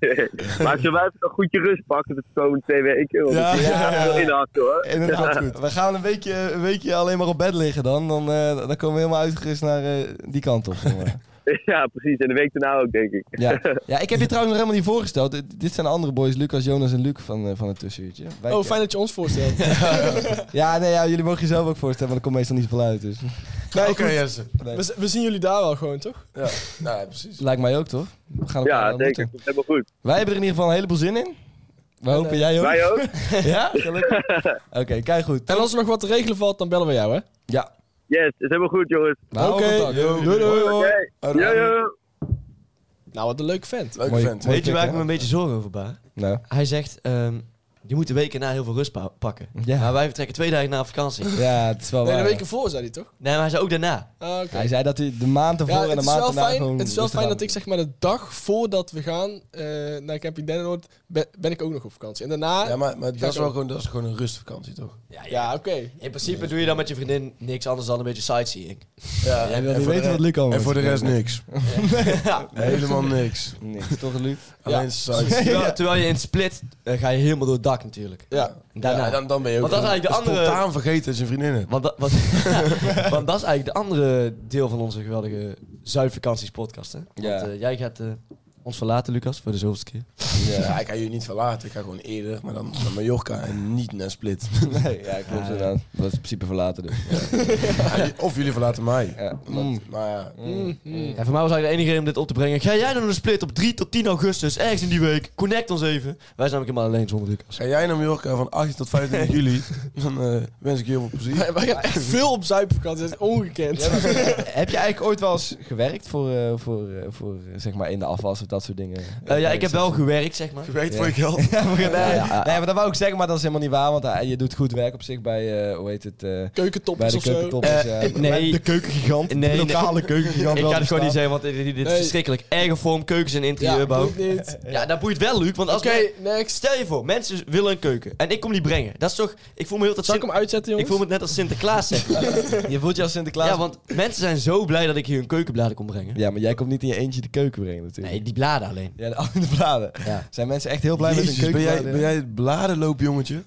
Speaker 1: nee. Maar zullen wij even een goedje rust pakken de komende twee weken? Want
Speaker 2: Ja,
Speaker 1: ja,
Speaker 2: ja, ja.
Speaker 1: veel inhakken hoor.
Speaker 2: Inderdaad, goed. We gaan een weekje, een weekje alleen maar op bed liggen dan. Dan, eh, dan komen we helemaal uitgerust naar eh, die kant op. zeg
Speaker 1: [laughs]
Speaker 2: maar.
Speaker 1: [laughs] Ja, precies. En de week daarna ook, denk ik.
Speaker 2: ja. ja, ik heb je trouwens nog helemaal niet voorgesteld. Dit- dit zijn de andere boys, Lucas, Jonas en Luc van, eh, van het tussenuurtje. Wij-
Speaker 3: Oh, fijn dat je ons
Speaker 2: [laughs]
Speaker 3: voorstelt.
Speaker 2: Ja, nee, ja, jullie mogen jezelf ook voorstellen, want er komt meestal niet veel uit. Dus.
Speaker 4: Oké, Jesse.
Speaker 3: We, z- we zien jullie daar wel gewoon, toch?
Speaker 4: Ja, nou, ja, precies.
Speaker 2: Lijkt mij ook, toch? We gaan elkaar
Speaker 1: Ja,
Speaker 2: wel
Speaker 1: zeker.
Speaker 2: ontmoeten.
Speaker 1: Dat is helemaal goed.
Speaker 2: Wij hebben er in ieder geval een heleboel zin in. We hopen jij ook.
Speaker 1: Wij ook.
Speaker 2: Ja? Gelukkig. Oké, kijk goed.
Speaker 3: En als er nog wat te regelen valt, dan bellen we jou, hè?
Speaker 2: Ja.
Speaker 1: Yes, het is helemaal goed, jongens.
Speaker 2: We houden
Speaker 3: Oké.
Speaker 2: contact.
Speaker 4: Yo.
Speaker 3: Doei, doei.
Speaker 1: Oké.
Speaker 4: Arno.
Speaker 1: Yo, yo.
Speaker 3: Nou, wat een leuke vent.
Speaker 4: Leuke
Speaker 2: Mooi-
Speaker 4: vent.
Speaker 2: mooi.
Speaker 5: Weet je waar
Speaker 2: pick,
Speaker 5: ik me
Speaker 2: hè?
Speaker 5: een beetje zorgen over baar?
Speaker 2: Nou.
Speaker 5: Hij zegt, ehm je moet de weken na heel veel rust pa- pakken.
Speaker 2: Ja.
Speaker 5: Maar wij vertrekken twee dagen na vakantie. Nee,
Speaker 2: Ja, het is wel
Speaker 3: Nee, de
Speaker 2: waar.
Speaker 3: weken voor zei hij toch?
Speaker 5: maar hij zei ook daarna.
Speaker 3: Ah, oké.
Speaker 2: eh, Hij zei dat hij de maand ervoor
Speaker 3: Ja,
Speaker 2: en
Speaker 3: het
Speaker 2: de
Speaker 3: is
Speaker 2: maand eh,
Speaker 3: wel
Speaker 2: daarna
Speaker 3: fijn,
Speaker 2: gewoon
Speaker 3: het is wel
Speaker 2: rustig
Speaker 3: fijn
Speaker 2: aan-
Speaker 3: dat ik zeg maar de dag voordat we gaan eh, naar Camping Dennenoord ben, ben ik ook nog op vakantie. En daarna...
Speaker 4: Ja,
Speaker 3: Ja,
Speaker 4: maar, maar
Speaker 3: Ga
Speaker 4: dat,
Speaker 3: ik
Speaker 4: is wel
Speaker 3: ook.
Speaker 4: gewoon, dat is gewoon een rustvakantie, toch?
Speaker 3: oké.
Speaker 5: In principe doe je dan met je vriendin niks anders dan een beetje sightseeing.
Speaker 4: Ja,
Speaker 2: Jij wil
Speaker 4: en
Speaker 2: niet
Speaker 4: voor de
Speaker 2: weten wat
Speaker 4: re-
Speaker 2: Luc allemaal
Speaker 4: En voor de
Speaker 2: doet.
Speaker 4: rest niks.
Speaker 5: [laughs]
Speaker 4: Helemaal niks.
Speaker 2: Nee, toch Luc?
Speaker 4: Alleen saai.
Speaker 5: Terwijl, terwijl je in Split eh, ga je helemaal door het dak bak natuurlijk.
Speaker 3: Ja.
Speaker 5: En daarna.
Speaker 4: Ja, nou, dan, dan ben je ook
Speaker 5: Want dat is
Speaker 4: gewoon
Speaker 5: eigenlijk de andere-
Speaker 4: spontaan vergeten zijn vriendinnen.
Speaker 5: Want, [laughs] dat, wat, want dat is eigenlijk de andere deel van onze geweldige zuidvakantiespodcast. Hè?
Speaker 4: Ja.
Speaker 5: [laughs] Want eh, jij gaat eh, ons verlaten, Lucas, voor de zoveelste keer.
Speaker 4: Ja, ik ga jullie niet verlaten. Ik ga gewoon eerder, maar dan naar Mallorca en niet naar Split.
Speaker 2: Nee, ja, klopt
Speaker 5: Ah, ja.
Speaker 2: inderdaad. Dat is in principe verlaten dus.
Speaker 4: [laughs] Ja, of jullie verlaten mij.
Speaker 2: [laughs] Ja.
Speaker 4: Omdat- Maar ja,
Speaker 3: Mm, mm.
Speaker 5: En voor mij was eigenlijk de enige reden om dit op te brengen. Ga jij nou een split op 3 tot 10 augustus, ergens in die week. Connect ons even. Wij zijn namelijk helemaal alleen zonder Lucas.
Speaker 4: ga jij naar Mallorca van 18 tot [laughs] 25 juli, dan eh, wens ik je heel veel plezier.
Speaker 3: Wij wij gaan echt veel op zuipvakantie, dat is ongekend. [laughs]
Speaker 2: eh, Heb je eigenlijk ooit wel eens gewerkt voor, eh, voor, eh, voor eh, zeg maar in de afwas of dat soort dingen?
Speaker 5: Eh, ja, ik heb
Speaker 2: [laughs]
Speaker 5: wel gewerkt, zeg maar.
Speaker 4: Gewerkt
Speaker 2: Ja.
Speaker 4: voor je geld.
Speaker 5: [laughs]
Speaker 2: Ja, voor- nee, nee, maar dat wou ik zeggen, maar dat is helemaal niet waar. Want eh, je doet goed werk op zich bij, eh, hoe heet het, eh, bij
Speaker 3: Keukentoppers
Speaker 2: de
Speaker 3: of zo.
Speaker 2: keukentoppers.
Speaker 5: Eh,
Speaker 2: Dus, ja.
Speaker 5: eh, [laughs] nee.
Speaker 6: De keukengigant.
Speaker 5: Nee, nee.
Speaker 6: de
Speaker 5: [laughs]
Speaker 6: lokale keukengigant.
Speaker 5: Ik
Speaker 6: wel
Speaker 5: ga het gewoon niet
Speaker 6: bestaat.
Speaker 5: zeggen, want dit, dit- dit is
Speaker 3: Nee.
Speaker 5: verschrikkelijk. Eigen vorm, keukens en
Speaker 3: Ja,
Speaker 5: interieurbouw.
Speaker 3: ook
Speaker 5: [laughs]
Speaker 3: niet.
Speaker 5: Ja, dat boeit wel, Luc. Want als
Speaker 3: Oké,
Speaker 5: men-
Speaker 3: next.
Speaker 5: Stel je voor, mensen willen een keuken. En ik kom die brengen. Dat is toch... Ik voel me heel dat
Speaker 3: Zal ik hem uitzetten,
Speaker 5: Ik
Speaker 3: jongens?
Speaker 5: voel me net als Sinterklaas, zeg
Speaker 2: [laughs] Je voelt je als Sinterklaas.
Speaker 5: Ja, want mensen zijn zo blij dat ik hier een keukenbladen kon brengen.
Speaker 2: Ja, maar jij komt niet in je eentje de keuken brengen natuurlijk.
Speaker 5: Nee, die bladen alleen.
Speaker 2: Ja, de andere bladen.
Speaker 5: Ja.
Speaker 2: Zijn mensen echt heel blij met
Speaker 4: Jezus,
Speaker 2: hun
Speaker 4: ben,
Speaker 2: keukenbladen?
Speaker 4: jij, ben jij het bladenloopjongetje?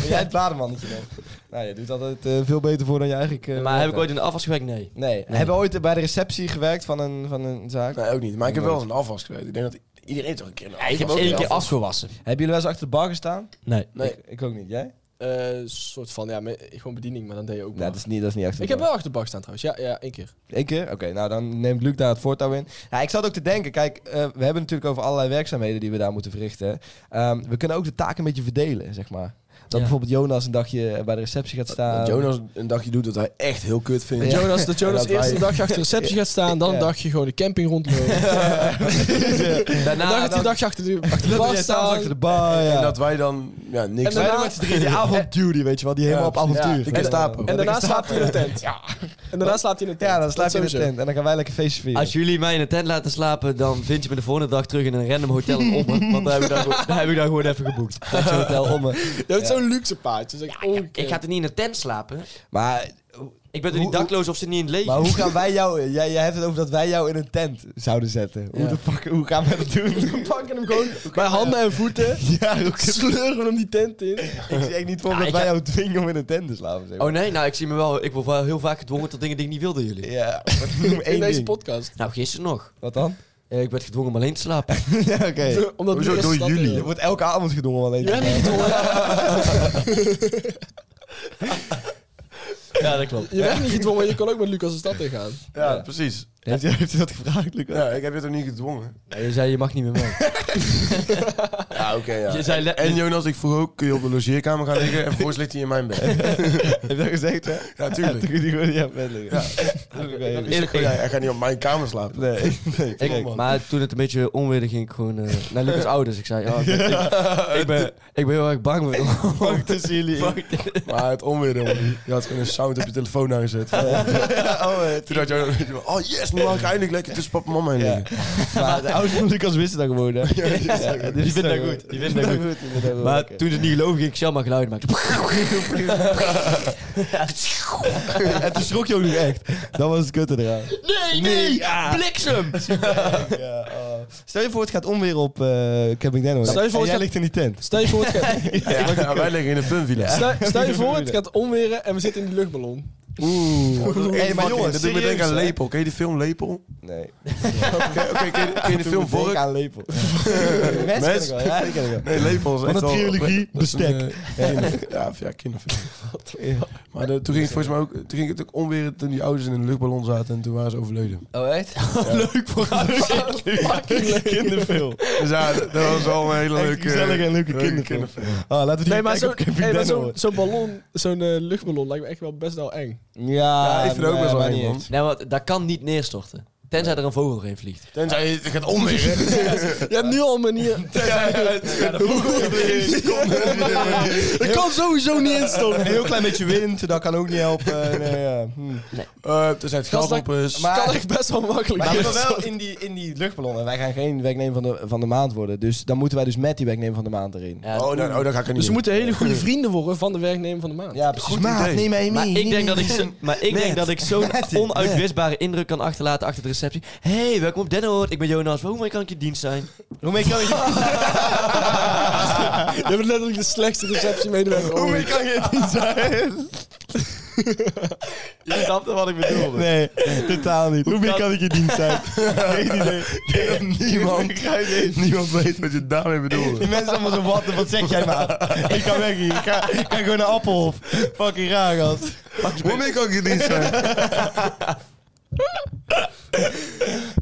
Speaker 2: Ben jij het bladenmannetje dan? Nou, je doet altijd eh, veel beter voor dan je eigenlijk... eh,
Speaker 5: maar heb ik
Speaker 2: bent.
Speaker 5: ooit in de afwas gewerkt? Nee.
Speaker 2: Nee. Hebben we ooit bij de receptie gewerkt van een, van een zaak?
Speaker 4: Nee, ook niet. Maar ik heb wel eens een afwas gewerkt. Ik denk dat iedereen toch een keer een afwas
Speaker 5: ik heb
Speaker 4: ook
Speaker 5: één keer afgewassen.
Speaker 2: Hebben jullie wel eens achter de bar gestaan?
Speaker 5: Nee.
Speaker 4: Nee.
Speaker 2: Ik, ik ook niet. Jij?
Speaker 3: Eh, soort van, ja, me- gewoon bediening, maar dan deed je ook
Speaker 2: Nee,
Speaker 3: wel.
Speaker 2: Nou, dat is niet, dat is niet achter de
Speaker 3: Ik
Speaker 2: bar.
Speaker 3: heb wel achterbak staan trouwens, ja, ja, één keer.
Speaker 2: Eén keer? Oké, nou dan neemt Luc daar het voortouw in. Nou, ik zat ook te denken, kijk, eh, we hebben natuurlijk over allerlei werkzaamheden die we daar moeten verrichten. Ehm, we kunnen ook de taken een beetje verdelen, zeg maar. Dat
Speaker 5: Ja.
Speaker 2: bijvoorbeeld Jonas een dagje bij de receptie gaat staan.
Speaker 4: Dat Jonas een dagje doet dat hij echt heel kut vindt.
Speaker 3: Dat Jonas, dat Jonas
Speaker 4: dat
Speaker 3: eerst
Speaker 4: wij-
Speaker 3: een dagje achter de receptie gaat staan, dan een
Speaker 2: Ja.
Speaker 3: dagje gewoon de camping rondlopen.
Speaker 5: Daarna...
Speaker 3: dan gaat hij een dagje achter de, achter de
Speaker 2: Loop
Speaker 3: bar
Speaker 2: jij s'avonds achter de
Speaker 3: staan.
Speaker 2: bar, ja.
Speaker 4: En dat wij dan ja, niks
Speaker 3: En daarna-
Speaker 4: doen.
Speaker 3: met z'n
Speaker 2: die avondduty, weet je wel, die helemaal op
Speaker 4: precies.
Speaker 2: avontuur.
Speaker 4: Ja, de Gestapo.
Speaker 3: En daarna slaapt hij in de tent. En daarna slaapt hij in de tent.
Speaker 2: Ja, dan slaap
Speaker 3: Dat
Speaker 2: je in de
Speaker 3: sowieso.
Speaker 2: tent en dan gaan wij lekker feestje vieren.
Speaker 5: Als jullie mij in een tent laten slapen, dan vind je me de volgende dag terug in een random hotel in Ommen. Want daar heb ik dan, gewoon- daar heb ik dan gewoon even geboekt.
Speaker 2: Dat je hotel
Speaker 5: [laughs]
Speaker 2: om me.
Speaker 3: Je hebt zo'n luxe paard. Dus ik, oh,
Speaker 5: Ik ga er niet in een tent slapen.
Speaker 2: Maar,
Speaker 5: Ik ben er niet
Speaker 2: Hoe-
Speaker 5: dakloos of ze niet in het leven.
Speaker 2: maar hoe gaan wij jou... Jij, jij hebt het over dat wij jou in een tent zouden zetten. Hoe, de fuck, hoe gaan we dat
Speaker 5: [laughs]
Speaker 2: doen?
Speaker 3: We pakken hem gewoon bij handen en voeten.
Speaker 2: ja, ook
Speaker 3: Sleuren we hem die
Speaker 2: [laughs]
Speaker 3: tent in.
Speaker 2: Ik zie echt niet voor
Speaker 5: Ja,
Speaker 2: dat
Speaker 5: ik
Speaker 2: wij
Speaker 5: ga-
Speaker 2: jou dwingen om in een tent te slapen. Zeg maar.
Speaker 5: Oh nee, nou ik zie me wel... Ik word wel heel vaak gedwongen tot dingen die ik niet wilde jullie.
Speaker 2: Ja, noem
Speaker 3: In
Speaker 2: één
Speaker 3: deze
Speaker 2: ding.
Speaker 3: podcast.
Speaker 5: Nou, gisteren nog.
Speaker 2: Wat
Speaker 5: [laughs]
Speaker 2: dan?
Speaker 5: Eh, ik werd gedwongen om alleen te slapen.
Speaker 2: ja, oké.
Speaker 3: Omdat
Speaker 4: Hoezo
Speaker 3: Lucas
Speaker 4: door
Speaker 3: dat
Speaker 4: jullie?
Speaker 2: Je
Speaker 3: wil.
Speaker 2: wordt elke avond gedwongen om alleen te
Speaker 3: Jij
Speaker 2: slapen.
Speaker 3: bent niet gedwongen.
Speaker 5: [laughs] ja, dat klopt.
Speaker 3: Je bent niet gedwongen, je kon ook met Lucas de stad in gaan.
Speaker 4: Ja, precies.
Speaker 2: Heeft hij heeft hij dat gevraagd, Lucas?
Speaker 4: Ja, ik heb je toch niet gedwongen?
Speaker 5: je zei, je mag niet meer mee.
Speaker 4: Ja, oké, ja.
Speaker 5: Je zei le-
Speaker 4: En Jonas, ik vroeg ook, kun je op de logeerkamer gaan liggen? En vervolgens ligt hij in mijn [laughs]
Speaker 2: [laughs]
Speaker 4: bed.
Speaker 2: Heb je dat gezegd, hè?
Speaker 4: Ja,
Speaker 2: Toen
Speaker 4: tuurlijk.
Speaker 2: kun je gewoon niet aan bed liggen. Oké.
Speaker 4: Ik zeg gewoon, ja, hij gaat niet op mijn kamer slapen. [laughs]
Speaker 2: Nee, nee,
Speaker 5: Ik,
Speaker 2: correct.
Speaker 5: maar toen het een beetje onweerde ging, ik gewoon eh, naar
Speaker 2: [laughs]
Speaker 5: Lucas' ouders. Ik zei, oh, ik, ben, ik, ik ben, ik ben heel erg
Speaker 2: [laughs]
Speaker 5: bang. voor-
Speaker 2: Fuck tussen jullie. in.
Speaker 4: Maar het onweer, jongen. Je had gewoon een sound op je telefoon aangezet. [laughs]
Speaker 2: Oh, eh,
Speaker 4: Toen had Jonas, oh yes, nu mag ik eindelijk lekker tussen papa en mama in liggen.
Speaker 2: Maar de ouders van Lucas wisten dat gewoon, hè?
Speaker 5: Die vinden dat goed, die vinden dat goed. Maar
Speaker 2: toen...
Speaker 5: toen ze het niet geloofde, ging ik zelf maar geluid maken.
Speaker 2: [laughs] En toen schrok je ook nog echt. Dat was het kutte eraan.
Speaker 5: Nee, nee, bliksem!
Speaker 2: Ja, oh. Stel je voor, het gaat onweer op eh Camping Denno.
Speaker 3: Stel je voor,
Speaker 2: en jij
Speaker 3: het gaat-
Speaker 2: ligt in die tent.
Speaker 3: Stel je voor, het gaat,
Speaker 4: Ja, wij liggen in een funvilla.
Speaker 3: stel, stel je voor, het gaat onweren en we zitten in de luchtballon.
Speaker 2: Oeh.
Speaker 4: Hey,
Speaker 2: maar jongens,
Speaker 4: dat doet me
Speaker 2: serieus,
Speaker 4: denken aan
Speaker 2: hè?
Speaker 4: Lepel. Ken je die film Lepel?
Speaker 2: Nee.
Speaker 4: Oké, oké, ken je- ken je de film
Speaker 2: voor
Speaker 4: Vork?
Speaker 2: aan [laughs] lepel. Mensen ken ik wel, ja, die ken ik wel.
Speaker 4: Nee, Lepel is
Speaker 2: Van
Speaker 4: echt
Speaker 2: de
Speaker 4: wel-
Speaker 2: trilogie
Speaker 4: dat is een,
Speaker 2: Bestek.
Speaker 4: eh, kinder- Ja, of ja, [laughs] kinderfilm. Maar de- toen ging het volgens mij ook, toen ging het ook onweer toen die ouders in een luchtballon zaten en toen waren ze overleden.
Speaker 5: Oh, echt? [laughs] Leuk voor
Speaker 2: Kinderfilm.
Speaker 4: Dus ja, dat dat was [laughs] al een hele
Speaker 2: Echt
Speaker 4: leuke...
Speaker 2: gezellige en leuke
Speaker 4: leuke
Speaker 2: kinderfilm. Ah, laten we die
Speaker 3: Nee, maar
Speaker 2: kijken
Speaker 3: zo'n
Speaker 2: op Camping
Speaker 3: hey, maar
Speaker 2: Denno,
Speaker 3: zo'n-
Speaker 2: hoor.
Speaker 3: zo'n ballon, zo'n eh, luchtballon lijkt me echt wel best wel eng.
Speaker 2: Ja,
Speaker 4: Ja, ik vind het ook
Speaker 2: nee,
Speaker 4: best wel
Speaker 2: maar
Speaker 4: eng,
Speaker 2: niet
Speaker 4: man.
Speaker 2: eens.
Speaker 5: Nee, Nou, want dat kan niet neerstorten. Tenzij er een vogel doorheen vliegt.
Speaker 4: Tenzij het gaat onweer.
Speaker 3: Je hebt nu al een manier.
Speaker 2: Ik kan sowieso niet instoppen. Een heel klein beetje wind, dat kan ook niet helpen. Nee, ja. hm.
Speaker 4: Eh Tenzij het geld
Speaker 3: Gast,
Speaker 4: op is.
Speaker 2: Maar-
Speaker 3: kan echt best wel makkelijk.
Speaker 2: Maar we wel in die, in die luchtballonnen. Wij gaan geen werknemer van de, van de maand worden. Dus dan moeten wij dus met die werknemer van de maand erin.
Speaker 5: Ja,
Speaker 4: Oh, dan, oh, dan ga ik er niet
Speaker 3: Dus we
Speaker 4: in.
Speaker 3: moeten hele goede vrienden worden van de werknemer van de maand.
Speaker 2: Ja, precies.
Speaker 4: Goed
Speaker 2: Maat,
Speaker 4: idee.
Speaker 2: neem mee,
Speaker 5: Maar
Speaker 2: mee,
Speaker 5: ik
Speaker 2: neem
Speaker 5: denk dat
Speaker 2: mee.
Speaker 5: ik, zo, maar ik, denk dat ik zo'n onuitwisbare indruk kan achterlaten achter de receptie. Hé, hey, welkom op Denhoord. Ik ben Jonas. Hoe kan ik je dienst zijn?
Speaker 3: Je bent letterlijk de slechtste receptiemedewerker ooit.
Speaker 4: Hoe kan je het niet zijn?
Speaker 5: [laughs] Je snapte wat ik bedoelde.
Speaker 4: Nee, totaal niet. Hoe meer kan ik je dienst [laughs] zijn? Geen idee. [laughs] niemand, niemand weet wat je daarmee [laughs] bedoelt.
Speaker 2: Die mensen allemaal zo, wat, wat zeg jij maar? Ik ga weg hier. Ik ga, ik ga gewoon naar Appelhof. Fucking raar, gast.
Speaker 4: Hoe meer kan ik je dienst [laughs] zijn?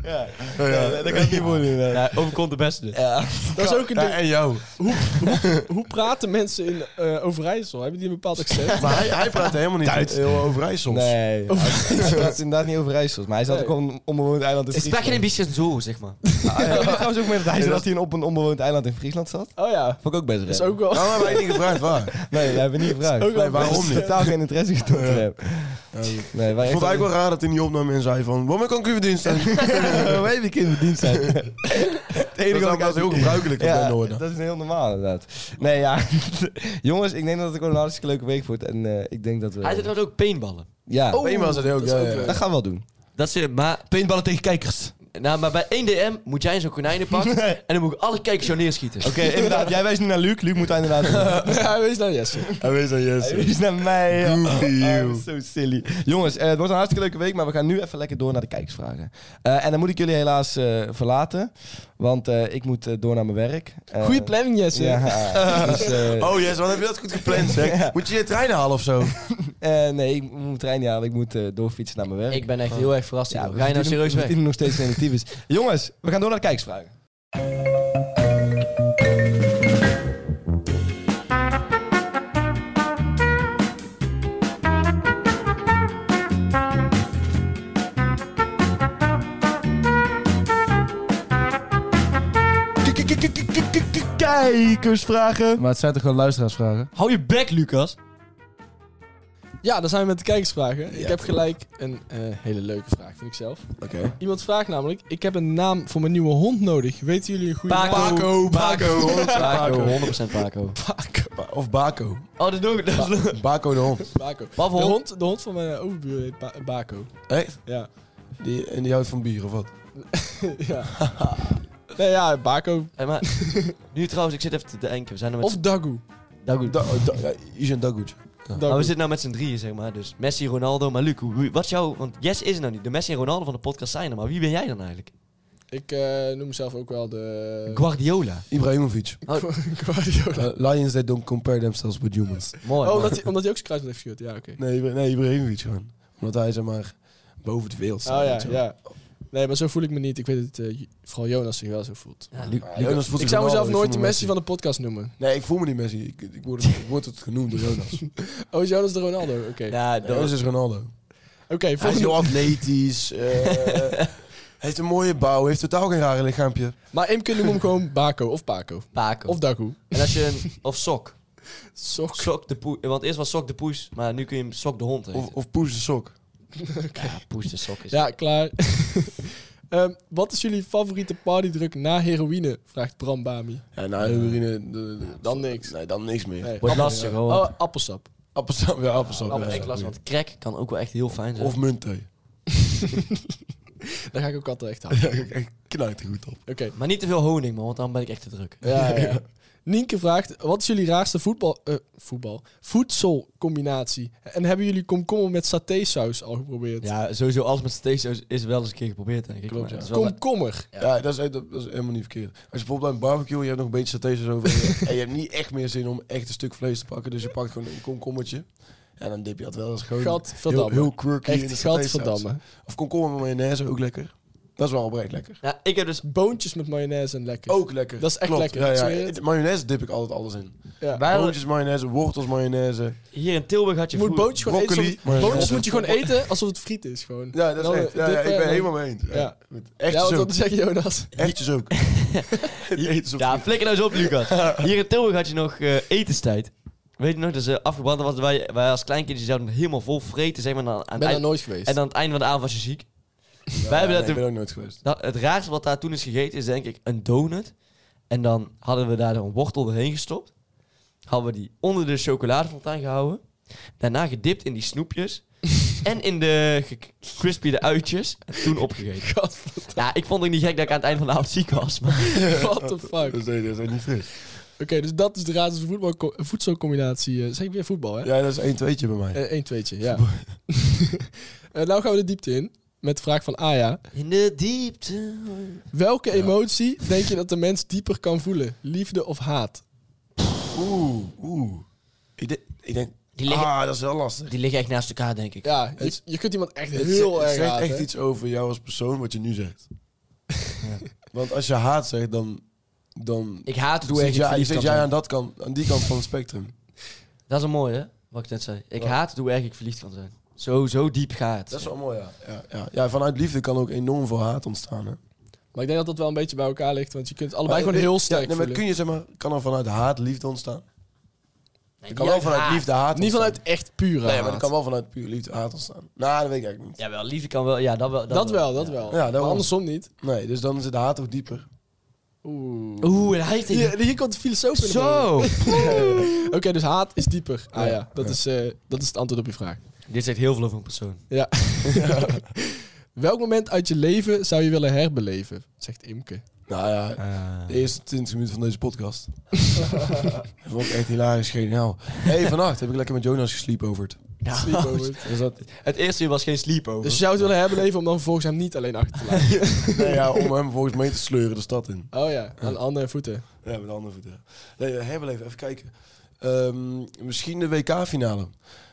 Speaker 4: ja, ja.
Speaker 2: Dat kan ik niet voor doen.
Speaker 5: Ja, overkomt de beste. dus.
Speaker 3: Dat is ook een
Speaker 4: Ja,
Speaker 3: ding.
Speaker 4: en jou.
Speaker 3: Hoe praten mensen in eh, Overijssel? Hebben die een bepaald accent?
Speaker 4: Maar hij, hij praat helemaal niet heel Overijssels.
Speaker 2: Nee, hij praat inderdaad niet over IJssels. Maar hij zat
Speaker 3: Nee.
Speaker 2: ook op een onbewoond eiland in
Speaker 5: Ik sprak je een
Speaker 2: Friesland.
Speaker 5: beetje zo, zeg maar.
Speaker 2: Ah, ja. Ik trouwens ook met dat hij zat dat hij op een onbewoond eiland in Friesland zat.
Speaker 3: Oh ja,
Speaker 2: Vond ik ook best
Speaker 3: dat is
Speaker 2: raar.
Speaker 3: ook wel...
Speaker 4: Waarom hebben wij niet gevraagd
Speaker 3: [laughs]
Speaker 4: waar?
Speaker 2: Nee, dat hebben we niet gevraagd.
Speaker 3: ook wel
Speaker 4: Nee, waarom
Speaker 2: Ik
Speaker 4: niet?
Speaker 2: heb totaal geen interesse getoond in hem. Nee, wij
Speaker 4: Ik vond het eigenlijk wel raar dat hij niet opnam en zei van... Waarom kan ik u verdienst zijn? [laughs]
Speaker 2: wel... [laughs] Wij die kinderen verdiend zijn. Het
Speaker 4: Dat is
Speaker 2: wat ik
Speaker 4: namelijk
Speaker 2: uit-
Speaker 4: heel gebruikelijk op
Speaker 2: Ja,
Speaker 4: Den Noorden.
Speaker 2: dat is heel normaal inderdaad. Nee, ja. [laughs] Jongens, ik denk dat het gewoon een hartstikke leuke week wordt. En eh, ik denk dat we...
Speaker 5: Hij zit Oh. trouwens ook paintballen.
Speaker 2: Ja,
Speaker 4: Op Eenmaal is het heel...
Speaker 3: Oh, dat is
Speaker 4: ja,
Speaker 3: ook
Speaker 4: ja, ja.
Speaker 3: leuk.
Speaker 2: dat gaan we wel doen.
Speaker 5: Dat ze, maar,
Speaker 2: Paintballen tegen kijkers.
Speaker 5: nou, maar bij 1DM moet jij zo'n
Speaker 2: [laughs]
Speaker 5: konijnenpak en dan moet ik alle kijkers jou neerschieten.
Speaker 2: Oké, inderdaad. Jij wijst nu naar Luc. Luc moet hij inderdaad doen.
Speaker 3: [laughs]
Speaker 2: [laughs]
Speaker 3: Ja, wees nou Jesse.
Speaker 4: Hij weet dat
Speaker 2: Hij
Speaker 4: Jesse.
Speaker 2: wijst naar mij. joh.
Speaker 4: Goofy,
Speaker 2: Oh,
Speaker 4: joh.
Speaker 2: Zo silly. Jongens, eh, het wordt een hartstikke leuke week, maar we gaan nu even lekker door naar de kijkersvragen. Eh, en dan moet ik jullie helaas eh, verlaten, want eh, ik moet eh, door naar mijn werk. Eh,
Speaker 3: Goeie planning,
Speaker 5: [laughs]
Speaker 3: Jesse.
Speaker 2: Ja, dus, eh,
Speaker 4: Oh Jesse, wat heb je dat goed gepland zeg? Moet je je trein halen of zo?
Speaker 2: eh, nee, ik moet mijn trein niet halen. Ik moet eh, doorfietsen naar mijn werk.
Speaker 5: Ik ben echt heel erg verrast.
Speaker 2: Ja,
Speaker 5: hierdoor.
Speaker 2: we
Speaker 5: Ga je nou
Speaker 2: verdienen-
Speaker 5: serieus
Speaker 2: we
Speaker 5: weg?
Speaker 2: verdienen nog steeds negatief is.
Speaker 4: [laughs]
Speaker 2: Jongens, we gaan door naar de kijkersvragen. Kijkersvragen.
Speaker 7: Maar het zijn toch gewoon luisteraarsvragen?
Speaker 5: Hou je bek, Lucas.
Speaker 3: Ja, dan zijn we met de kijkersvragen. ik heb gelijk een eh, hele leuke vraag, vind ik zelf.
Speaker 4: Oké.
Speaker 3: Iemand vraagt namelijk, ik heb een naam voor mijn nieuwe hond nodig. Weten jullie een goede naam?
Speaker 4: Paco, Paco.
Speaker 5: Paco, 100% Paco.
Speaker 4: Ba- Of Baco.
Speaker 5: Oh, dat doe ik. Dat is
Speaker 4: Baco de hond.
Speaker 3: Baco.
Speaker 5: Wat
Speaker 3: De
Speaker 5: voor hond?
Speaker 3: hond, de hond van mijn overbuur heet Ba- Baco.
Speaker 4: Echt?
Speaker 3: Ja.
Speaker 4: Die, en die houdt van bier of wat?
Speaker 3: ja. Nee, ja, Baco.
Speaker 5: Hey, maar, nu trouwens, ik zit even te denken. We zijn er met
Speaker 3: Of Dagu.
Speaker 5: Nou goed.
Speaker 4: Da, da, ja, is een dagoetje.
Speaker 3: Dagu.
Speaker 5: Maar we zitten nou met z'n drieën, zeg maar. Dus Messi, Ronaldo, maar Luc, hoe- hoe- wat is jouw... Want Yes is er nou niet. De Messi en Ronaldo van de podcast zijn er, maar wie ben jij dan eigenlijk?
Speaker 3: Ik eh, noem mezelf ook wel de...
Speaker 5: Eh, Guardiola.
Speaker 4: Ibrahimovic.
Speaker 5: Oh.
Speaker 3: [laughs] Guardiola.
Speaker 4: Uh, lions, they don't compare themselves with humans.
Speaker 5: Mooi.
Speaker 3: Oh,
Speaker 5: man.
Speaker 3: omdat hij, omdat hij ook zijn kruisband heeft geschud. Ja, oké.
Speaker 4: Nee, Ibra- nee Ibrahimovic gewoon. Omdat hij, zeg maar, boven het wereld staat.
Speaker 3: Oh
Speaker 4: weet je
Speaker 3: ja,
Speaker 4: wel.
Speaker 3: ja. Nee, maar zo voel ik me niet. Ik weet dat eh, vooral Jonas zich wel zo voelt.
Speaker 5: Ja, Luc.
Speaker 4: Ja, Jonas voelt
Speaker 3: Ah, ik
Speaker 4: zich
Speaker 3: zou
Speaker 4: normaal,
Speaker 3: mezelf
Speaker 4: ik
Speaker 3: nooit de
Speaker 4: voel me
Speaker 3: Messi van de podcast noemen.
Speaker 4: Nee, ik voel me niet Messi. Ik, ik, word, het, ik word het genoemd door [laughs] Jonas.
Speaker 3: Oh, is Jonas de Ronaldo? Oké,
Speaker 5: Ja, dat
Speaker 4: Jonas
Speaker 5: was...
Speaker 4: is dus Ronaldo.
Speaker 3: oké.
Speaker 4: Hij is
Speaker 3: volgende.
Speaker 4: heel atletisch. [laughs] eh, heeft een mooie bouw. Heeft totaal geen rare lichaampje.
Speaker 3: Maar Imke noem hem gewoon Baco
Speaker 4: [laughs]
Speaker 3: of Paco.
Speaker 5: Paco.
Speaker 3: Of Dagu.
Speaker 5: En als je een... Of [laughs] Sok.
Speaker 3: Sok.
Speaker 5: Sok de poes. Want eerst was Sok de poes, maar nu kun je hem Sok de hond heten.
Speaker 4: Of, of Poes de Sok.
Speaker 5: Ja, poes de sok is...
Speaker 3: Ja, klaar. [laughs] Ehm, wat is jullie favoriete partydruk na heroïne? Vraagt Bram Bami.
Speaker 4: Ja, nou, urine, de- de-
Speaker 3: Dan niks.
Speaker 4: Nee, dan niks meer.
Speaker 3: Nee.
Speaker 5: Wordt lastig, hoor.
Speaker 3: Oh, appelsap.
Speaker 4: Appelsap, ja, appelsap.
Speaker 5: Appel-
Speaker 4: ja.
Speaker 5: ik las, want crack kan ook wel echt heel fijn zijn.
Speaker 4: Of muntthee.
Speaker 3: Daar ga ik ook altijd echt aan. Oké.
Speaker 4: [laughs] Ik knijt er goed op.
Speaker 5: Maar niet te veel honing, man, want dan ben ik echt te druk.
Speaker 3: Ja, [laughs] ja, ja. Nienke vraagt, wat is jullie raarste voetbal, eh, voetbal, voedselcombinatie? En hebben jullie komkommer met satésaus al geprobeerd?
Speaker 5: Ja, sowieso alles met steeds is wel eens een keer geprobeerd, denk ik.
Speaker 4: Klopt,
Speaker 5: Maar
Speaker 4: ja.
Speaker 5: het is wel-
Speaker 3: Komkommer.
Speaker 4: Ja, dat, is, echt- dat is helemaal niet verkeerd. Als je bijvoorbeeld bij een barbecue, je hebt nog een beetje saté's over. [laughs] en je hebt niet echt meer zin om echt een stuk vlees te pakken. Dus je pakt gewoon een komkommetje. En dan dip je dat wel eens gewoon heel,
Speaker 3: Gadverdamme.
Speaker 4: heel quirky in de
Speaker 3: Echt
Speaker 4: satésaus.
Speaker 3: gadverdamme.
Speaker 4: Of komkommer met mayonaise, ook lekker. Dat is wel oprecht lekker.
Speaker 5: Ja, ik heb dus...
Speaker 3: Boontjes met mayonaise en lekker.
Speaker 4: Ook lekker.
Speaker 3: Dat is echt
Speaker 4: Klopt,
Speaker 3: lekker, ik
Speaker 4: Ja,
Speaker 3: zweer
Speaker 4: ja.
Speaker 3: het.
Speaker 4: Mayonaise dip ik altijd alles in.
Speaker 3: Ja.
Speaker 5: Wij hadden-
Speaker 4: Boontjes mayonaise, wortels mayonaise.
Speaker 5: Hier in Tilburg had je
Speaker 3: Je moet
Speaker 5: vroeger-
Speaker 3: boontjes gewoon
Speaker 4: broccoli,
Speaker 3: eten. alsof- Boontjes
Speaker 4: mayonaise.
Speaker 3: moet je gewoon eten alsof het friet is. Gewoon.
Speaker 4: Ja, dat
Speaker 3: Dan,
Speaker 4: is echt.
Speaker 3: eh,
Speaker 4: Ja, ja,
Speaker 3: dippen
Speaker 4: ik ben
Speaker 3: en-
Speaker 4: helemaal mee eens.
Speaker 3: Ja. Ja,
Speaker 4: Echt
Speaker 3: wat
Speaker 4: zo.
Speaker 3: wilde zeggen, Jonas?
Speaker 4: Echt [laughs] ook. Eet zo.
Speaker 5: Ja, flikker nou eens op, Lucas. Hier in Tilburg had je nog eh, etenstijd. Weet je nog, dat ze afgebrand was. Wij, wij als kleinkindjes zouden helemaal vol vreten, zeg maar. en aan, aan
Speaker 3: Ik
Speaker 5: het
Speaker 3: ben daar
Speaker 5: eind-
Speaker 3: nooit geweest.
Speaker 5: en aan het einde van de avond was je ziek. wij hebben
Speaker 4: Nee,
Speaker 5: dat,
Speaker 4: ik
Speaker 5: toen-
Speaker 4: ben ook nooit geweest.
Speaker 5: dat- Het raarste wat daar toen is gegeten is, denk ik, een donut. En dan hadden we daar een wortel doorheen gestopt.
Speaker 3: [laughs]
Speaker 5: Hadden we die onder de chocoladefontein gehouden. Daarna gedipt in die snoepjes. en in de ge- crispy de uitjes. En toen opgegeten. Ja, ik vond het niet gek dat ik aan het eind van de avond ziek was. Maar
Speaker 3: [laughs] What the
Speaker 4: [laughs]
Speaker 3: fuck?
Speaker 4: Dat is, nee, dat is niet fris.
Speaker 3: Oké, dus dat is de raad voetbal, voedselcombinatie. eh, zeg ik weer voetbal, hè?
Speaker 4: Ja, dat is één tweetje bij mij.
Speaker 3: Eh, Eén tweetje, ja. [laughs] Eh, nou gaan we de diepte in. Met de vraag van Aya.
Speaker 5: in de diepte.
Speaker 3: Welke emotie denk je dat de mens dieper kan voelen? Liefde of haat?
Speaker 4: Oeh, oeh. Ik, denk- ik denk,
Speaker 5: Die liggen,
Speaker 4: ah, dat is wel lastig.
Speaker 5: die liggen echt naast elkaar, denk ik.
Speaker 3: Ja, je, je kunt iemand echt
Speaker 4: Het
Speaker 3: heel
Speaker 4: zegt- het
Speaker 3: erg
Speaker 4: zegt
Speaker 3: haten.
Speaker 4: echt iets over jou als persoon wat je nu zegt. Want als je haat zegt, dan, dan
Speaker 5: Ik haat het hoe
Speaker 4: zit,
Speaker 5: erg ik
Speaker 4: jij,
Speaker 5: verliefd
Speaker 4: zit
Speaker 5: kan
Speaker 4: jij
Speaker 5: zijn.
Speaker 4: aan, dat kant, aan die kant van het spectrum.
Speaker 5: Dat is een mooie, hè? Wat ik net zei. Ik haat het hoe erg ik verliefd kan zijn. Zo, zo diep gaat.
Speaker 4: Dat is wel mooi, ja. Ja, ja. ja vanuit liefde kan ook enorm veel haat ontstaan. Hè.
Speaker 3: Maar ik denk dat dat wel een beetje bij elkaar ligt. Want je kunt het allebei
Speaker 4: Maar,
Speaker 3: gewoon heel
Speaker 4: ja,
Speaker 3: sterk
Speaker 4: nee, maar
Speaker 3: voelen.
Speaker 4: kun je, zeg maar, kan er vanuit haat liefde ontstaan?
Speaker 5: Nee,
Speaker 4: Er
Speaker 5: niet
Speaker 4: kan wel
Speaker 5: uit
Speaker 4: vanuit
Speaker 5: haat.
Speaker 4: liefde haat
Speaker 3: Niet
Speaker 4: ontstaan.
Speaker 3: vanuit echt pure
Speaker 4: Nee, maar er
Speaker 3: haat.
Speaker 4: kan wel vanuit puur liefde haat ontstaan. Nou, dat weet ik eigenlijk niet.
Speaker 5: Jawel, liefde kan wel. Ja, dat wel.
Speaker 3: Dat, wel, dat wel.
Speaker 4: Ja, dat
Speaker 3: maar
Speaker 4: wel.
Speaker 3: andersom niet.
Speaker 4: Nee, dus dan zit de haat ook dieper.
Speaker 3: Oeh.
Speaker 5: Oeh, en hij heeft
Speaker 3: [laughs] Hier, hier komt de filosoof in de boven.
Speaker 5: [laughs] Zo!
Speaker 3: Oké, dus haat is dieper. Ah ja, dat, Is, eh, dat is het antwoord op je vraag.
Speaker 5: Dit zegt heel veel over een persoon.
Speaker 3: [laughs] Ja. Welk moment uit je leven zou je willen herbeleven? Zegt Imke.
Speaker 4: Nou ja,
Speaker 3: Eh.
Speaker 4: de eerste 20 minuten van deze podcast. [laughs] dat vond ik echt hilarisch, geniaal. Hé, hey, vannacht heb ik lekker met Jonas gesliepen over
Speaker 3: [laughs]
Speaker 4: het.
Speaker 3: Sleepover.
Speaker 4: Dus dat,
Speaker 5: Het eerste uur was geen sleepover.
Speaker 3: Dus je zou het willen herbeleven om dan vervolgens hem niet alleen achter te [laughs] laten.
Speaker 4: nee, ja, om hem volgens mee te sleuren de stad in.
Speaker 3: Oh ja, aan andere voeten.
Speaker 4: Ja, met de andere voeten. Nee, eh, herbeleven, even kijken. Ehm, misschien de WK-finale.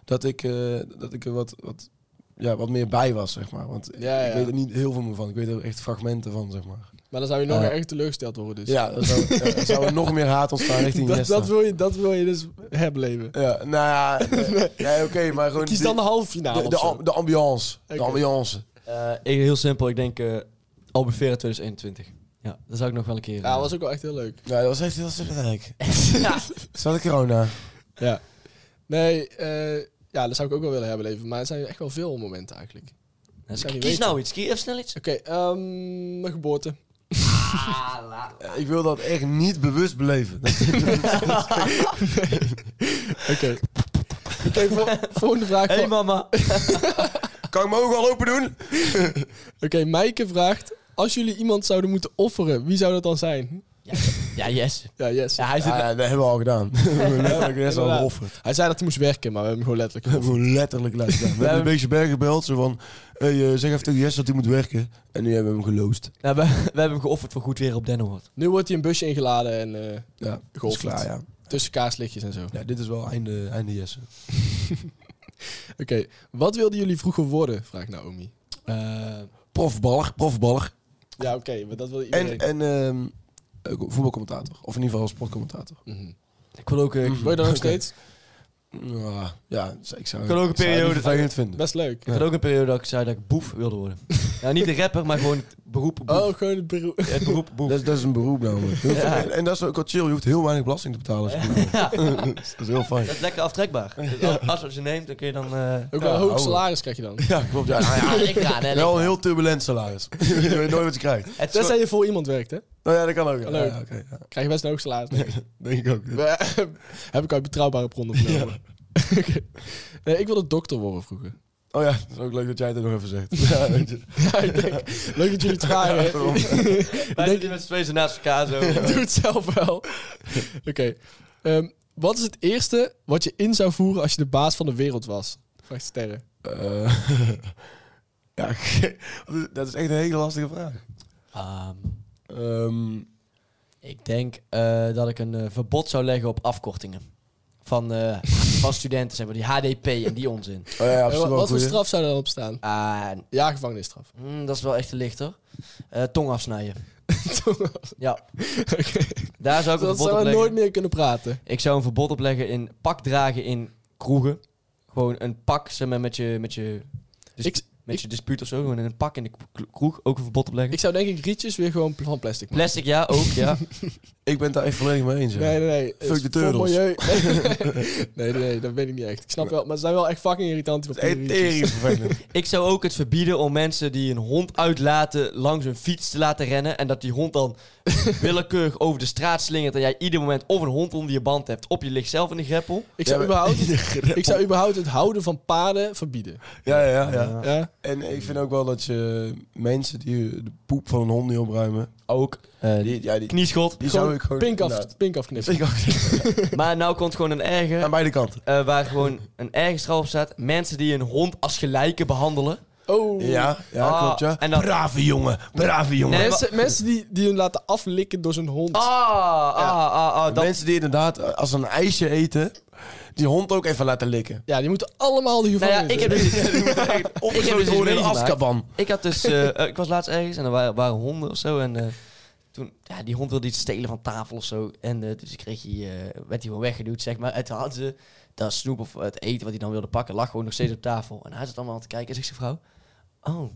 Speaker 4: Dat ik, eh, dat ik er wat, wat, ja, wat meer bij was, zeg maar. Want
Speaker 3: Ja,
Speaker 4: ik
Speaker 3: ja.
Speaker 4: weet er niet heel veel meer van. Ik weet er echt fragmenten van, zeg maar.
Speaker 3: Maar dan zou je nog
Speaker 4: Ja.
Speaker 3: erg teleurgesteld worden. Dus.
Speaker 4: Ja, dan zou, ja, dan zou er nog meer haat ontstaan
Speaker 3: [laughs]
Speaker 4: richting
Speaker 3: dat,
Speaker 4: Nesta.
Speaker 3: dat, wil je, dat wil je dus herbeleven.
Speaker 4: Ja, nou ja, eh, ja oké, maar gewoon...
Speaker 3: Kies
Speaker 4: de-
Speaker 3: dan de halve finale.
Speaker 4: de,
Speaker 3: of
Speaker 4: de,
Speaker 3: zo.
Speaker 4: am- de ambiance. De
Speaker 3: Oké.
Speaker 4: ambiance.
Speaker 5: Eh, ik- heel simpel, ik denk eh Albufeira 2021. Ja, dat zou ik nog wel een keer.
Speaker 3: Ja,
Speaker 5: eh,
Speaker 3: was ook wel echt heel leuk.
Speaker 4: Ja, dat was echt heel sterk.
Speaker 5: ja.
Speaker 4: Zat ik corona?
Speaker 3: Ja. Nee, eh, ja, dat zou ik ook wel willen herbeleven. Maar er zijn echt wel veel momenten eigenlijk. Oké,
Speaker 5: Dus
Speaker 3: zou niet
Speaker 5: kies
Speaker 3: weten.
Speaker 5: nou iets, kies even snel iets.
Speaker 3: ehm, mijn geboorte.
Speaker 5: Ah,
Speaker 4: Ja, ik wil dat echt niet bewust beleven.
Speaker 3: Oké. Oké, vol- volgende vraag.
Speaker 5: Hé hey, [laughs]
Speaker 3: van-
Speaker 5: mama.
Speaker 4: [laughs] kan ik mijn ogen al open doen?
Speaker 3: Oké, Maaike vraagt... Als jullie iemand zouden moeten offeren, wie zou dat dan zijn?
Speaker 5: Ja, yes.
Speaker 3: Ja, yes.
Speaker 5: Ja, hij zit
Speaker 4: Ah, Ja, dat hebben we al gedaan. [laughs] we hebben net al
Speaker 3: Inderdaad.
Speaker 4: geofferd.
Speaker 3: Hij zei dat hij moest werken, maar we hebben hem gewoon
Speaker 4: We
Speaker 3: letterlijk...
Speaker 4: hebben gewoon letterlijk laten gedaan. We hebben een beetje berg gebeld. Zo van, hey, eh, zeg even tegen Jess dat hij moet werken. En nu hebben we hem geloosd.
Speaker 5: Nou, we, we hebben hem geofferd voor goed weer op Denhoord.
Speaker 3: Nu wordt hij een busje ingeladen en eh,
Speaker 4: Ja, dat is
Speaker 3: Geofferd.
Speaker 4: klaar, ja.
Speaker 3: tussen kaaslichtjes en zo.
Speaker 4: ja. Dit is wel einde, einde Jesse.
Speaker 3: Oké, wat wilden jullie vroeger worden? Vraagt Naomi.
Speaker 4: Profballer, profballer.
Speaker 3: Ja, oké, maar dat wil iedereen.
Speaker 4: Eh, En, en ehm, eh, voetbalcommentator. Of in ieder geval sportcommentator.
Speaker 3: Mhm.
Speaker 5: ik wil ook, eh, ik
Speaker 3: Word je dat nog
Speaker 4: Oké.
Speaker 3: steeds?
Speaker 4: Ja, ja, dus ik zou,
Speaker 5: Ik kan ook een
Speaker 4: zou het
Speaker 5: periode-
Speaker 4: niet vervelend vinden.
Speaker 3: Best leuk.
Speaker 5: had ook een periode dat ik zei dat ik boef wilde worden. nou, niet de rapper, maar gewoon het beroep boef.
Speaker 3: Oh, gewoon het beroep.
Speaker 5: Het beroep boef.
Speaker 4: Dat is, dat is een beroep nou, [laughs] namelijk. Heel
Speaker 5: Ja.
Speaker 4: fijn. En dat is ook wel chill. Je hoeft heel weinig belasting te betalen.
Speaker 5: [laughs]
Speaker 4: als je beroep
Speaker 5: Ja,
Speaker 4: bent. dat is heel fijn.
Speaker 5: dat is lekker aftrekbaar. Dus als als je neemt, dan kun je dan... eh
Speaker 3: Ook wel een
Speaker 4: Ja,
Speaker 3: hoog
Speaker 4: ouwe.
Speaker 3: salaris krijg je dan.
Speaker 4: [laughs] Ja, klopt. Ja. Nou ja,
Speaker 5: ik ga, [laughs]
Speaker 4: wel
Speaker 5: nee, ligt
Speaker 4: een
Speaker 5: eraan.
Speaker 4: heel turbulent salaris. [laughs] je weet nooit wat je krijgt.
Speaker 5: Het is
Speaker 3: Tenzij je voor iemand werkt, hè?
Speaker 4: Nou ja, dat kan ook. Ja,
Speaker 3: Leuk.
Speaker 4: Ja, oké, ja.
Speaker 3: Krijg je best een hoog salaris. denk ik.
Speaker 4: Denk ik ook.
Speaker 3: [laughs] Heb ik uit betrouwbare bronnen vernomen. [laughs] Oké. nee, ik wilde dokter worden vroeger. [laughs]
Speaker 4: Oh ja, dat is ook leuk dat jij het nog even
Speaker 5: [laughs]
Speaker 4: zegt. Ja, weet je.
Speaker 3: ja, ik denk, leuk dat jullie het vragen. hè?
Speaker 4: Waarom?
Speaker 3: [laughs]
Speaker 5: Wij zitten hier met z'n tweeën zo naast elkaar zo.
Speaker 3: Doe het zelf wel. Oké. ehm, wat is het eerste wat je in zou voeren als je de baas van de wereld was? Vraagt Sterren.
Speaker 4: Eh, [laughs] ja, [laughs] ge- dat is echt een hele lastige vraag.
Speaker 5: Ehm,
Speaker 4: Ehm,
Speaker 5: ik denk eh, dat ik een eh, verbod zou leggen op afkortingen. Van, eh, van studenten, zeg maar. Die HDP en die onzin.
Speaker 4: oh ja,
Speaker 3: Eh,
Speaker 4: absoluut
Speaker 3: wat
Speaker 4: wel
Speaker 3: wat
Speaker 4: een
Speaker 3: voor
Speaker 4: goeie.
Speaker 3: straf zou daarop staan?
Speaker 5: Ah,
Speaker 3: Ja, gevangenisstraf.
Speaker 5: mm, dat is wel echt te licht, hoor. Eh, tong afsnijden. Ja,
Speaker 3: Oké.
Speaker 5: daar zou ik een
Speaker 3: Dat
Speaker 5: verbod op
Speaker 3: zou we
Speaker 5: leggen.
Speaker 3: nooit meer kunnen
Speaker 4: [laughs]
Speaker 3: praten.
Speaker 5: Ik zou een verbod opleggen in pak dragen in kroegen. Gewoon een pak, zeg maar, met je... Met je dus
Speaker 3: Ik-
Speaker 5: met je dispuut of zo, gewoon in een pak in de k- kroeg ook een verbod opleggen.
Speaker 3: Ik zou denk ik rietjes weer gewoon pl- van plastic maken.
Speaker 5: Plastic, ja, ook,
Speaker 3: [laughs]
Speaker 5: ja.
Speaker 4: Ik ben het daar echt volledig mee eens. ja.
Speaker 3: Nee, nee, nee. Het
Speaker 4: de
Speaker 3: is voor
Speaker 4: turtles. [laughs]
Speaker 3: milieu. Nee, nee, nee, dat weet ik niet echt. Ik snap wel, maar ze zijn wel echt fucking irritant. Die
Speaker 4: Het is echt
Speaker 3: papieren rietjes.
Speaker 4: tering vervelend.
Speaker 5: [laughs] Ik zou ook het verbieden om mensen die een hond uitlaten langs hun fiets te laten rennen. En dat die hond
Speaker 3: [laughs]
Speaker 5: dan willekeurig over de straat slingert. En jij ieder moment of een hond onder je band hebt. Of je ligt zelf in de greppel.
Speaker 3: Ik
Speaker 4: [laughs]
Speaker 3: zou,
Speaker 4: Ja, maar-
Speaker 3: überhaupt, ik zou überhaupt het houden van paarden verbieden.
Speaker 4: Ja, ja, ja.
Speaker 3: Ja?
Speaker 4: En ik vind ook wel dat je mensen die de poep van een hond niet opruimen,
Speaker 5: Ook.
Speaker 4: die, ja, die,
Speaker 5: Knieschot.
Speaker 4: die zou
Speaker 3: Gewoon
Speaker 4: ik gewoon... Nou,
Speaker 3: pink, af,
Speaker 4: inderdaad.
Speaker 3: pink afknippen.
Speaker 4: Pink af-
Speaker 5: Maar nou komt gewoon een erger.
Speaker 4: Aan beide kanten.
Speaker 5: eh, waar gewoon een erger straf op staat. Mensen die een hond als gelijke behandelen.
Speaker 3: Oh.
Speaker 4: Ja, ja
Speaker 5: Ah,
Speaker 4: klopt ja.
Speaker 5: en dan-
Speaker 4: Brave jongen, brave jongen.
Speaker 5: Nee,
Speaker 3: Mensen, mensen die, die hun laten aflikken door zijn hond.
Speaker 5: Ah, ah, ah, ah. Dat,
Speaker 4: Mensen die inderdaad eh, als ze een ijsje eten, die hond ook even laten likken.
Speaker 3: Ja, die moeten allemaal de
Speaker 5: nou
Speaker 3: gevangenis.
Speaker 5: ja, ik heb
Speaker 3: in.
Speaker 5: dus iets- [laughs]
Speaker 4: Of
Speaker 5: heb dus iets
Speaker 4: door een
Speaker 5: meegemaakt.
Speaker 4: afkaban.
Speaker 5: Ik had dus, eh, eh, ik was laatst ergens en er waren, waren honden of zo. En eh, toen, ja, die hond wilde iets stelen van tafel of zo. En eh, dus ik kreeg hij, eh, werd hij gewoon weggeduwd, zeg maar. En toen hadden ze dat snoep of het eten wat hij dan wilde pakken, lag gewoon nog steeds op tafel. En hij zat allemaal aan te kijken en zegt zijn vrouw, oh,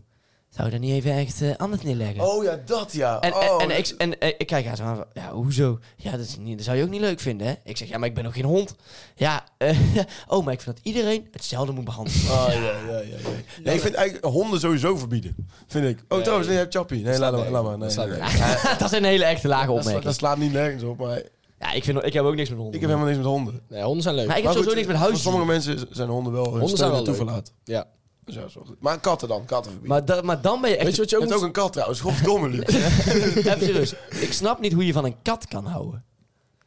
Speaker 5: zou je dat niet even echt eh, anders neerleggen?
Speaker 4: Oh ja, dat ja.
Speaker 5: En,
Speaker 4: oh,
Speaker 5: en, en, ik, en eh, ik kijk haar zo aan van, ja, hoezo? Ja, dat, is niet, dat zou je ook niet leuk vinden, hè? Ik zeg, ja, maar ik ben ook geen hond. Ja, eh, [laughs] oh, maar ik vind dat iedereen hetzelfde moet behandelen.
Speaker 4: Oh, ja, ja, ja, ja. Nee, ik vind eigenlijk honden sowieso verbieden. Vind ik. Oh, trouwens, nee, je hebt Chappie. Nee, laat maar. Laat maar. Nee, nee, nee.
Speaker 5: [laughs] dat is een hele echte lage
Speaker 4: Dat, slaat,
Speaker 5: opmerking.
Speaker 4: dat slaat niet nergens op, maar ik
Speaker 5: Ja, ik, vind, ik heb ook niks met honden.
Speaker 4: heb helemaal niks met honden. Maar
Speaker 3: Nee, honden zijn leuk.
Speaker 5: Maar ik heb
Speaker 4: goed,
Speaker 5: sowieso niks met
Speaker 4: Voor
Speaker 5: huisdieren.
Speaker 4: sommige mensen zijn honden wel hun
Speaker 3: Honden
Speaker 4: steun
Speaker 3: zijn
Speaker 4: en
Speaker 3: wel leuk.
Speaker 4: toeverlaat.
Speaker 3: Ja.
Speaker 4: Dus ja, dat is wel goed. Maar katten dan, katten verbieden.
Speaker 5: Maar, da- maar dan ben je echt...
Speaker 3: Weet je wat je
Speaker 4: je
Speaker 3: ook
Speaker 4: hebt
Speaker 3: moet-
Speaker 4: ook een kat trouwens, godverdomme Luc.
Speaker 5: Even serieus. Ik snap niet hoe je van een kat kan houden.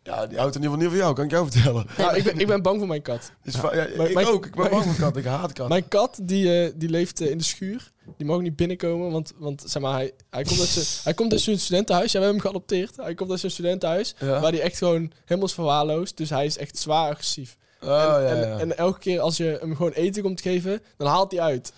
Speaker 4: Ja, die houdt in ieder geval niet van jou, kan ik jou vertellen.
Speaker 3: Nou, ik, ben, ik ben bang voor mijn kat.
Speaker 4: Dus va- ja,
Speaker 3: Maar-
Speaker 4: ik
Speaker 3: maar-
Speaker 4: ook, ik ben bang voor katten, ik haat katten.
Speaker 3: Mijn kat die, eh, die leeft eh, in de schuur. Die mag ook niet binnenkomen, want, want zeg maar, hij, hij komt uit zijn- hij komt uit zijn studentenhuis. Ja, we hebben hem geadopteerd. Hij komt uit zijn studentenhuis,
Speaker 4: Ja.
Speaker 3: waar hij echt gewoon helemaal is verwaarloosd. Dus hij is echt zwaar agressief.
Speaker 4: Oh, ja, ja.
Speaker 3: en, en elke keer als je hem gewoon eten komt geven, dan haalt hij uit.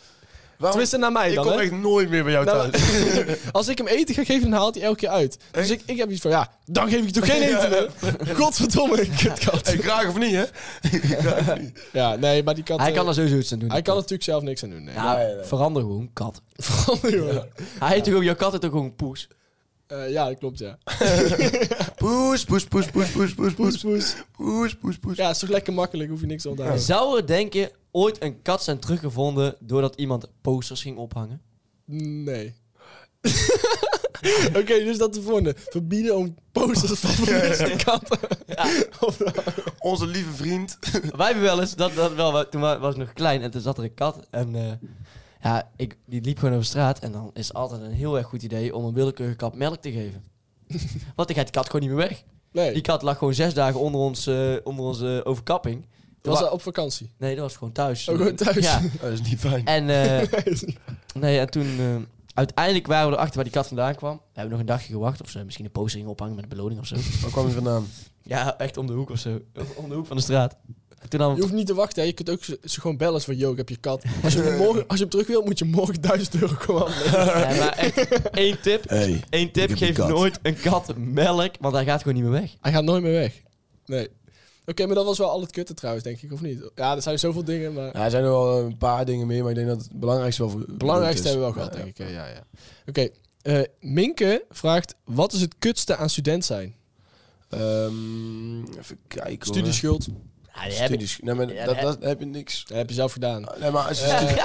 Speaker 4: Waarom-
Speaker 3: Tenminste, naar mij
Speaker 4: Oh, ik
Speaker 3: dan,
Speaker 4: kom
Speaker 3: hè?
Speaker 4: echt nooit meer bij jou
Speaker 3: Nou,
Speaker 4: thuis.
Speaker 3: [laughs] Als ik hem eten ga geven, dan haalt hij elke keer uit. Dus ik, ik heb iets van, ja, dan geef ik toch
Speaker 4: [laughs]
Speaker 3: geen eten meer? Godverdomme, kutkat.
Speaker 4: Hey, graag of niet, hè?
Speaker 3: Ja, nee, maar die kat...
Speaker 5: hij
Speaker 3: eh,
Speaker 5: kan er sowieso iets aan doen.
Speaker 3: hij
Speaker 5: die
Speaker 3: kan
Speaker 5: kat.
Speaker 3: natuurlijk zelf niks aan doen, nee.
Speaker 5: Nou, verander gewoon, kat.
Speaker 3: Verander, joh.
Speaker 5: Hij heet toch ook... Jouw kat heet toch gewoon Poes?
Speaker 3: Eh, ja, dat klopt, ja.
Speaker 4: Poes, poes, poes, poes, poes, poes, poes,
Speaker 3: poes.
Speaker 4: poes, poes, poes.
Speaker 3: Ja, is toch lekker makkelijk, hoef je niks te onthouden.
Speaker 5: Zou er, denk je, ooit een kat zijn teruggevonden doordat iemand posters ging ophangen?
Speaker 3: Nee. [laughs] Oké, dus dat de volgende. Verbieden om posters van
Speaker 4: [laughs]
Speaker 3: vermiste katten.
Speaker 4: Onze lieve vriend.
Speaker 5: Wij hebben wel eens, dat, dat wel, toen wa- was ik nog klein en toen zat er een kat. En eh, ja, ik, die liep gewoon over straat. En dan is altijd een heel erg goed idee om een willekeurige kat melk te geven. [laughs] Want dan gaat die kat gewoon niet meer weg.
Speaker 3: Nee,
Speaker 5: Die kat lag gewoon zes dagen onder, ons, eh, onder onze overkapping.
Speaker 3: was hij op vakantie.
Speaker 5: Nee, dat was gewoon thuis.
Speaker 3: Oh, gewoon thuis.
Speaker 5: Ja.
Speaker 4: Dat is niet fijn.
Speaker 5: En,
Speaker 3: [laughs]
Speaker 5: eh, nee, en toen... eh, uiteindelijk waren we erachter waar die kat vandaan kwam. We hebben nog een dagje gewacht. Of ze misschien een poster gingen ophangen met een beloning
Speaker 3: [laughs]
Speaker 5: of zo.
Speaker 4: Waar kwam je vandaan?
Speaker 5: Ja, echt om de hoek of zo. Om de hoek van de straat. En toen
Speaker 3: Je
Speaker 5: dan...
Speaker 3: hoeft niet te wachten, hè. je kunt ook ze ze gewoon bellen van, yo, ik heb je kat. Als je hem, morgen, als je hem terug wilt, moet je morgen 1000 euro gewoon afleveren.
Speaker 5: Ja, maar echt, één tip.
Speaker 4: Hey.
Speaker 5: Eén
Speaker 4: Ik
Speaker 5: tip,
Speaker 4: heb die
Speaker 5: geef
Speaker 4: kat.
Speaker 5: nooit een kat melk, want hij gaat gewoon niet meer weg.
Speaker 3: Hij gaat nooit meer weg. Nee. Oké, maar dat was wel al het kutte trouwens, denk ik, of niet? Ja, er zijn zoveel dingen, maar...
Speaker 4: Ja, er zijn er wel een paar dingen meer, maar ik denk dat het belangrijkste wel voor
Speaker 3: belangrijkste hebben we wel
Speaker 4: Ja,
Speaker 3: gehad, denk ik. hè. Ja, ja. Oké, eh, Minke vraagt, wat is het kutste aan student zijn?
Speaker 4: Ehm, even kijken hoor.
Speaker 3: Studieschuld.
Speaker 5: Ja, Ah, die heb ik.
Speaker 4: Studies. Nee, maar
Speaker 5: Ja,
Speaker 4: dat,
Speaker 5: die
Speaker 4: dat heb je niks.
Speaker 3: Dat heb je zelf gedaan.
Speaker 4: Nee, maar als je, stu- nee,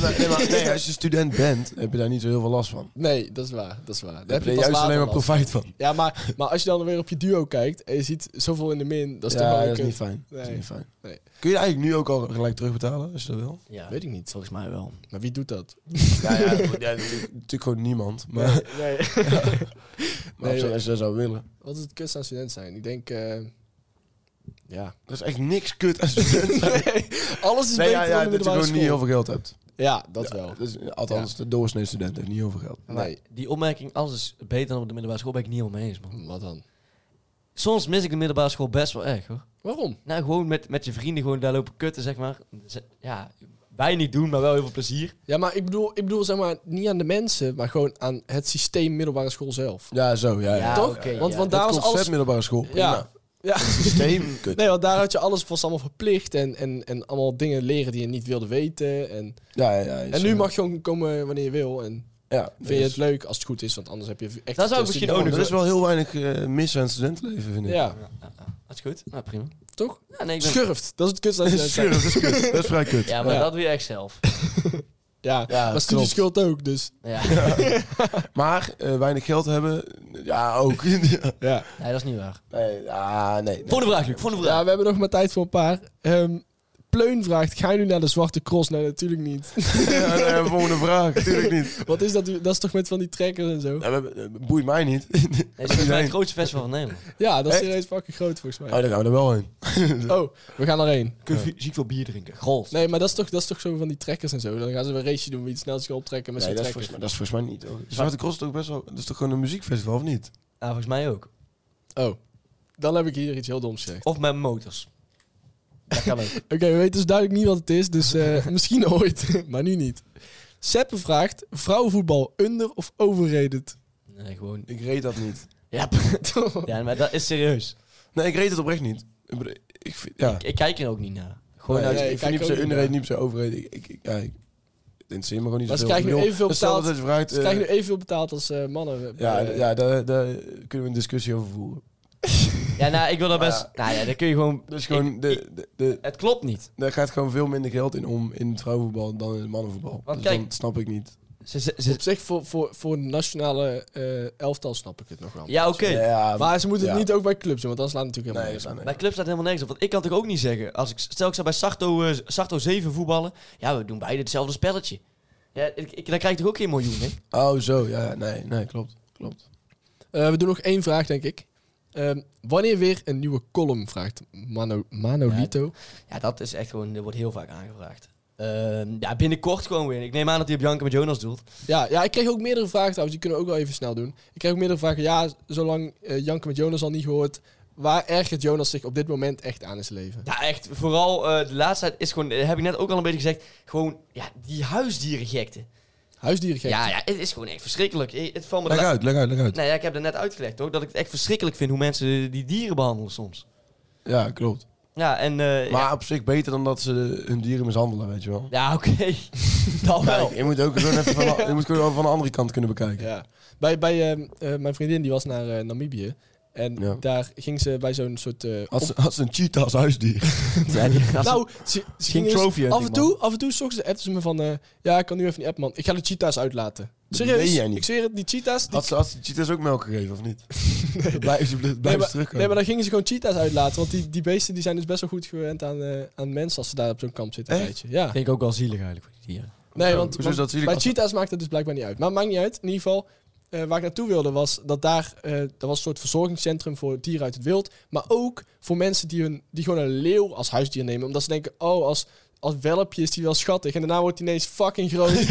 Speaker 4: maar, nee, maar, nee, als je student bent, heb je daar niet zo heel veel last van.
Speaker 3: Nee, dat is waar. Dat is waar. Daar
Speaker 4: Daar
Speaker 3: heb je
Speaker 4: heb je
Speaker 3: pas
Speaker 4: juist
Speaker 3: later
Speaker 4: alleen maar
Speaker 3: last
Speaker 4: profijt van.
Speaker 3: Ja, maar, maar als je dan weer op je duo kijkt en je ziet zoveel in de min, dat is toch
Speaker 4: ja,
Speaker 3: wel een
Speaker 4: dat is
Speaker 3: kut.
Speaker 4: niet fijn. Dat is
Speaker 3: Nee.
Speaker 4: niet fijn.
Speaker 3: Nee.
Speaker 4: Kun je dat eigenlijk nu ook al gelijk terugbetalen, als je dat wil?
Speaker 5: Ja,
Speaker 3: Weet ik niet.
Speaker 5: volgens mij wel.
Speaker 3: Maar wie doet dat?
Speaker 4: Ja, ja, natuurlijk, gewoon niemand. Maar, [laughs] maar
Speaker 3: Nee,
Speaker 4: als je dat zou willen.
Speaker 3: Wat is het kutste aan student zijn? Ik denk, eh, ja.
Speaker 4: Dat is echt niks kut [laughs] als student.
Speaker 3: Alles is
Speaker 4: Nee,
Speaker 3: beter
Speaker 4: ja, ja, dat je
Speaker 3: dan de middelbare
Speaker 4: gewoon niet
Speaker 3: school.
Speaker 4: heel veel geld hebt.
Speaker 3: Ja, dat
Speaker 4: Ja, dus-
Speaker 3: wel.
Speaker 4: dat is- althans, de doorsnee student heeft niet heel veel geld.
Speaker 3: Nee,
Speaker 5: Die opmerking, alles is beter dan op de middelbare school, ben ik niet helemaal mee eens, man.
Speaker 3: wat dan?
Speaker 5: Soms mis ik de middelbare school best wel erg, hoor.
Speaker 3: Waarom?
Speaker 5: Nou, gewoon met, met je vrienden gewoon daar lopen kutten, zeg maar. Ze- Ja, weinig doen, maar wel heel veel plezier.
Speaker 3: Ja, maar ik bedoel, ik bedoel zeg maar niet aan de mensen, maar gewoon aan het systeem middelbare school zelf.
Speaker 4: Ja, zo, ja. ja.
Speaker 3: Toch?
Speaker 5: oké,
Speaker 3: want
Speaker 5: ja.
Speaker 3: want
Speaker 4: Het
Speaker 3: daar was
Speaker 4: concept
Speaker 3: alles...
Speaker 4: middelbare school.
Speaker 3: Ja,
Speaker 4: prima.
Speaker 3: ja, Ja.
Speaker 4: Systeem. Kut.
Speaker 3: Nee, want daar had je alles was allemaal verplicht en, en, en allemaal dingen leren die je niet wilde weten. En,
Speaker 4: Ja, ja, ja, is
Speaker 3: en nu
Speaker 4: zo.
Speaker 3: mag je gewoon komen wanneer je wil. En
Speaker 4: Ja,
Speaker 3: vind je
Speaker 4: eh, dus-
Speaker 3: het leuk als het goed is, want anders heb je echt...
Speaker 5: Dat zou ik
Speaker 3: test die
Speaker 5: misschien ook
Speaker 3: je
Speaker 4: Er
Speaker 5: nog-
Speaker 4: is wel heel weinig eh, mis aan het studentenleven, vind ik.
Speaker 3: Ja,
Speaker 5: Dat is goed. Nou, prima.
Speaker 3: toch?
Speaker 5: Ja, nee, ik ben...
Speaker 3: Schurft. Dat is het
Speaker 4: [laughs]
Speaker 3: kutste. als je dat
Speaker 4: Sure,
Speaker 3: zegt.
Speaker 4: dat is kut. Dat is vrij kut.
Speaker 5: Ja, maar
Speaker 3: Ja.
Speaker 5: dat doe je echt zelf.
Speaker 3: Ja,
Speaker 4: Ja,
Speaker 3: maar studieschuld ook, dus...
Speaker 5: Ja,
Speaker 4: Maar eh, weinig geld hebben, ja, ook. Ja.
Speaker 3: Ja.
Speaker 5: nee, dat is niet waar.
Speaker 4: nee, ah, nee. nee.
Speaker 5: Volgende vraag, Luc. Volgende vraag.
Speaker 3: ja, we hebben nog maar tijd voor een paar. Ehm, Pleun vraagt, ga je nu naar de Zwarte Cross? Nee, natuurlijk niet. [laughs]
Speaker 4: Ja, nee, volgende vraag, natuurlijk niet.
Speaker 3: Wat is dat? Dat is toch met van die trekkers en zo?
Speaker 4: Ja, we- eh, boeit mij niet.
Speaker 5: Nee,
Speaker 4: [laughs]
Speaker 5: dit is volgens mij het grootste festival van Nederland. [laughs]
Speaker 3: Ja, dat is
Speaker 4: Echt?
Speaker 3: serieus fucking groot volgens
Speaker 4: Oh,
Speaker 3: mij.
Speaker 4: daar gaan we er wel heen.
Speaker 3: Oh, we gaan erheen.
Speaker 8: Kun je ziek veel bier drinken?
Speaker 5: Gold.
Speaker 3: Nee, maar dat is toch, dat is toch zo van die trekkers en zo. Dan gaan ze weer een raceje doen wie het snelst kan optrekken met
Speaker 4: Nee,
Speaker 3: zo'n
Speaker 4: dat is, volgens
Speaker 3: trekker.
Speaker 4: mij, dat is volgens mij niet. hoor. Zwarte Cross is toch best wel. Dat is toch gewoon een muziekfestival of niet?
Speaker 5: Ja, volgens mij ook.
Speaker 3: Oh, dan heb ik hier iets heel doms gezegd.
Speaker 5: Of met motors. Dat kan ook.
Speaker 3: Oké, we weten dus duidelijk niet wat het is, dus eh, [laughs] misschien ooit, maar nu niet. Seppe vraagt, vrouwenvoetbal under of overrated?
Speaker 5: Nee, gewoon...
Speaker 4: Ik reed dat niet.
Speaker 5: Ja, [laughs]
Speaker 3: Toch?
Speaker 5: ja maar dat is serieus.
Speaker 4: Nee, ik reed het oprecht niet. Ik bedoel, Ik vind, ja.
Speaker 5: Ik, ik kijk er ook niet naar.
Speaker 4: Gewoon,
Speaker 5: Gewoon
Speaker 4: uit-
Speaker 3: Nee,
Speaker 4: Oh, nou, ik
Speaker 3: nee, ik
Speaker 4: vind
Speaker 3: kijk
Speaker 4: niet per se
Speaker 3: ook niet
Speaker 4: underrated, niet per se overrated. Ik, ik, ik, ja, ik, het interesseert me gewoon niet
Speaker 3: Maar ze
Speaker 4: zoveel.
Speaker 3: krijgen nu
Speaker 4: Ik bedoel,
Speaker 3: evenveel
Speaker 4: stel dat
Speaker 3: betaald.
Speaker 4: je vraagt,
Speaker 3: Ze
Speaker 4: eh,
Speaker 3: krijgen Dus nu evenveel betaald als eh, mannen.
Speaker 4: Ja,
Speaker 3: Eh,
Speaker 4: ja daar, daar kunnen we een discussie over voeren.
Speaker 5: Ja, nou, ik wil dat
Speaker 4: Maar
Speaker 5: best... Nou ja, dan kun je gewoon...
Speaker 4: Dus gewoon, de, de, de,
Speaker 5: Het klopt niet.
Speaker 4: daar gaat gewoon veel minder geld in om in het vrouwenvoetbal dan in het mannenvoetbal.
Speaker 5: Want
Speaker 4: dus
Speaker 5: kijk-
Speaker 4: dat snap ik niet.
Speaker 5: Ze, ze, ze-
Speaker 3: Op zich, voor, voor, voor een nationale eh, elftal snap ik het nog wel.
Speaker 5: ja, oké.
Speaker 4: Ja,
Speaker 3: Maar ze moeten het
Speaker 4: Ja.
Speaker 3: niet ook bij clubs doen, want anders laat het natuurlijk
Speaker 4: nee,
Speaker 3: helemaal
Speaker 4: dat staat
Speaker 3: niks.
Speaker 5: Mijn club staat helemaal nergens op. Want ik kan toch ook niet zeggen... Als ik, stel, ik zou bij Sarto, eh, Sarto 7 voetballen. Ja, we doen beide hetzelfde spelletje. Ja, ik, ik- dan krijg ik toch ook geen miljoen, hè?
Speaker 4: Oh, zo. Ja, ja, nee, nee, klopt. klopt.
Speaker 3: Eh, we doen nog één vraag, denk ik. Ehm, wanneer weer een nieuwe column, vraagt Mano, Manolito.
Speaker 5: Ja, dat is echt gewoon... Dat wordt heel vaak aangevraagd. Ehm, ja, binnenkort gewoon weer. Ik neem aan dat hij op Janke met Jonas doelt.
Speaker 3: Ja, ja, ik kreeg ook meerdere vragen trouwens, die kunnen we ook wel even snel doen. Ik kreeg ook meerdere vragen, ja, zolang eh Janke met Jonas al niet gehoord, waar ergert Jonas zich op dit moment echt aan in zijn leven?
Speaker 5: Ja, echt. Vooral eh, de laatste tijd is gewoon... eh, heb ik net ook al een beetje gezegd. Gewoon, ja, die huisdierengekte.
Speaker 3: Huisdierengek.
Speaker 5: Ja, ja, het is gewoon echt verschrikkelijk. Eh, Het valt me de
Speaker 4: Leg
Speaker 5: la-
Speaker 4: uit, leg uit, leg uit.
Speaker 5: Nee, ja, ik heb het net uitgelegd, hoor. Dat ik het echt verschrikkelijk vind hoe mensen die dieren behandelen soms.
Speaker 4: Ja, klopt.
Speaker 5: Ja, en...
Speaker 4: Maar
Speaker 5: eh, ja,
Speaker 4: op zich beter dan dat ze hun dieren mishandelen, weet je wel.
Speaker 5: ja, oké. [laughs] Dan wel.
Speaker 4: Kijk, je moet ook gewoon even van, je moet gewoon van de andere kant kunnen bekijken.
Speaker 3: Ja. Bij, bij ehm, eh, mijn vriendin, die was naar eh, Namibië. En
Speaker 4: Ja.
Speaker 3: daar ging ze bij zo'n soort... eh,
Speaker 4: Had ze, had ze een cheetah als huisdier?
Speaker 3: op- Nou, ze, ze ging dus
Speaker 4: trophy
Speaker 3: af en toe, af en toe zocht ze, appte ze me van... eh, ja, ik kan nu even niet appen, man. Ik ga de cheetahs uitlaten. Serieus?
Speaker 4: meen jij niet.
Speaker 3: Ik zweer het, die cheetahs... die-
Speaker 4: Had ze, had ze de cheetahs ook melk gegeven, of
Speaker 3: [laughs]
Speaker 4: niet? Dat blijft, dat blijft
Speaker 3: Nee maar,
Speaker 4: terugkomen.
Speaker 3: nee, maar dan gingen ze gewoon cheetahs uitlaten. Want die, die beesten die zijn dus best wel goed gewend aan, eh, aan mensen als ze daar op zo'n kamp zitten. Een
Speaker 4: Echt?
Speaker 3: tijdje. Ja.
Speaker 5: vind ik ook wel zielig eigenlijk voor die dieren.
Speaker 3: Nee, want,
Speaker 4: Hoezo
Speaker 3: want
Speaker 4: is dat zielig
Speaker 3: bij
Speaker 4: als-
Speaker 3: cheetahs maakt het dus blijkbaar niet uit. Maar maakt niet uit. In ieder geval, eh, waar ik naartoe wilde was dat daar... eh dat was een soort verzorgingscentrum voor dieren uit het wild. Maar ook voor mensen die, hun, die gewoon een leeuw als huisdier nemen. Omdat ze denken, oh, als, als welpje is die wel schattig. En daarna wordt hij ineens fucking
Speaker 4: [laughs]
Speaker 3: groot. [laughs]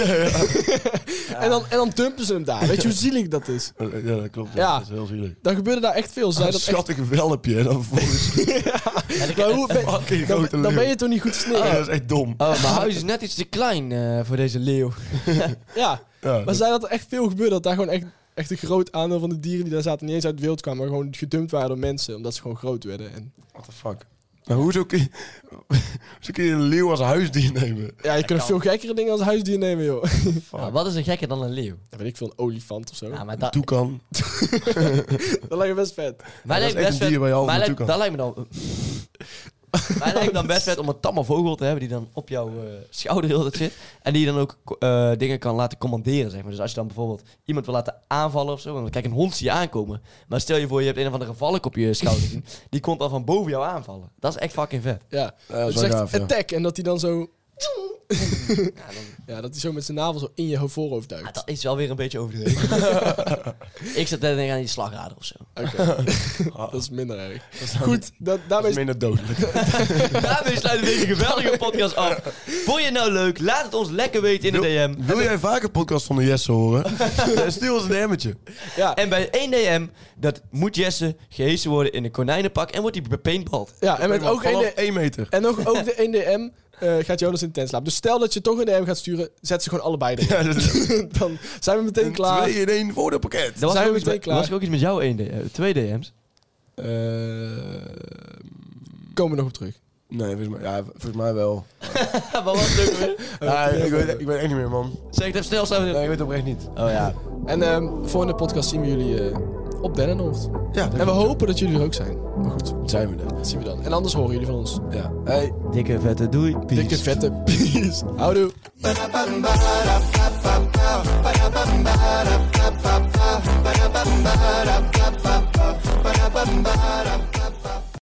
Speaker 3: en, dan, en dan dumpen ze hem daar. Weet je hoe zielig dat is?
Speaker 4: Ja, dat klopt.
Speaker 3: Ja.
Speaker 4: Dat is heel zielig.
Speaker 3: Dan gebeurde daar echt veel. Ze zeiden
Speaker 4: een
Speaker 3: dat echt...
Speaker 4: schattige welpje. En dan vervolgens
Speaker 3: Maar hoe-
Speaker 4: fucking
Speaker 3: dan,
Speaker 4: grote
Speaker 3: dan ben
Speaker 4: leeuw.
Speaker 3: je toch niet goed sneren.
Speaker 4: Ah, dat is echt dom.
Speaker 5: Oh, mijn huis is net iets te klein eh, voor deze leeuw.
Speaker 3: Ja,
Speaker 4: Ja,
Speaker 3: maar ze zeiden dat er echt veel gebeurde. Dat daar gewoon echt, echt een groot aandeel van de dieren die daar zaten niet eens uit het wild kwamen. Maar gewoon gedumpt waren door mensen. Omdat ze gewoon groot werden. En,
Speaker 4: What the fuck? Maar hoezo kun je, [laughs] hoezo kun je een leeuw als huisdier nemen?
Speaker 3: ja, je kunt
Speaker 5: kan.
Speaker 3: veel gekkere dingen als huisdier nemen, joh. [laughs]
Speaker 5: Ja, wat is een gekker dan een leeuw?
Speaker 3: Ja, weet ik veel, een olifant of zo.
Speaker 5: Ja, maar dat,
Speaker 4: Toe kan.
Speaker 3: Dat lijkt me best vet.
Speaker 5: mij
Speaker 4: dat is
Speaker 5: lijkt
Speaker 4: echt
Speaker 5: best
Speaker 4: een dier waar je
Speaker 5: vet-
Speaker 4: half
Speaker 5: mij lijkt-
Speaker 4: naartoe
Speaker 5: dat lijkt me dan...
Speaker 4: [laughs]
Speaker 5: mij lijkt dan best vet om een tamme vogel te hebben die dan op jouw eh, schouder heel dat zit. En die dan ook eh, dingen kan laten commanderen, zeg maar. Dus als je dan bijvoorbeeld iemand wil laten aanvallen of zo. Want kijk, een hond zie je aankomen. Maar stel je voor, je hebt een of andere valk op je schouder
Speaker 4: [laughs]
Speaker 5: zien. Die komt al van boven jou aanvallen. Dat is echt fucking vet.
Speaker 3: Ja,
Speaker 4: Ja, dat is
Speaker 3: dat is
Speaker 4: wel
Speaker 3: echt
Speaker 4: gaaf, ja.
Speaker 3: attack. En dat hij dan zo...
Speaker 5: Ja, dan-
Speaker 3: [laughs] Ja, dat hij zo met zijn navel zo in je voorhoofd
Speaker 5: ah,
Speaker 3: duikt.
Speaker 5: dat is wel weer een beetje overdreven. [laughs] ik zat net te denken aan die slagrader of zo.
Speaker 3: Oké, dat is minder erg.
Speaker 4: Goed.
Speaker 3: Goed,
Speaker 4: Dat
Speaker 3: dat, daarmee
Speaker 4: is
Speaker 3: is...
Speaker 4: minder dodelijk.
Speaker 3: [laughs]
Speaker 5: Daarmee sluiten we deze geweldige podcast af. Vond je het nou leuk? Laat het ons lekker weten in de DM.
Speaker 4: Wil jij vaker podcast van de Jesse horen? Ja, Stuur ons een DM'tje.
Speaker 3: Ja,
Speaker 5: En bij 1 DM, dat moet Jesse gehezen worden in een konijnenpak en wordt hij bepaintbald.
Speaker 3: ja, en met [laughs] ook
Speaker 4: Vanaf
Speaker 3: een...
Speaker 4: 1 meter.
Speaker 3: En nog ook de 1DM eh, gaat Jonas in de tent slapen. Dus stel dat je toch een DM gaat sturen, zet ze gewoon allebei erin.
Speaker 4: Ja, dat is
Speaker 3: [laughs] dan zijn we meteen
Speaker 4: een
Speaker 3: klaar.
Speaker 4: 2 in 1 voor de pakket.
Speaker 5: Er was,
Speaker 3: Zijn
Speaker 5: ook
Speaker 3: we
Speaker 5: iets
Speaker 3: meteen
Speaker 5: met-
Speaker 3: klaar?
Speaker 5: was er ook iets met jou 1 DM, 2 DM's.
Speaker 4: Eh,
Speaker 3: Komen we nog op terug.
Speaker 4: nee, volgens mij, ja, volgens mij wel.
Speaker 5: maar wat lukt weer?
Speaker 4: Ja, ik, weet, ik weet echt niet meer, man.
Speaker 5: Zeg het even snel samen.
Speaker 4: Nee, ik weet het oprecht niet.
Speaker 5: Oh ja.
Speaker 3: En ehm volgende podcast zien we jullie eh, op Dennenhoofd.
Speaker 4: Ja,
Speaker 3: En we hopen dat jullie er ook zijn. Maar goed,
Speaker 4: zijn we er.
Speaker 3: dat zien we dan. En anders horen jullie van ons.
Speaker 4: Ja. Hey.
Speaker 5: Dikke vette doei.
Speaker 3: Dikke
Speaker 4: [laughs]
Speaker 3: vette peace. Houdoe.
Speaker 9: ba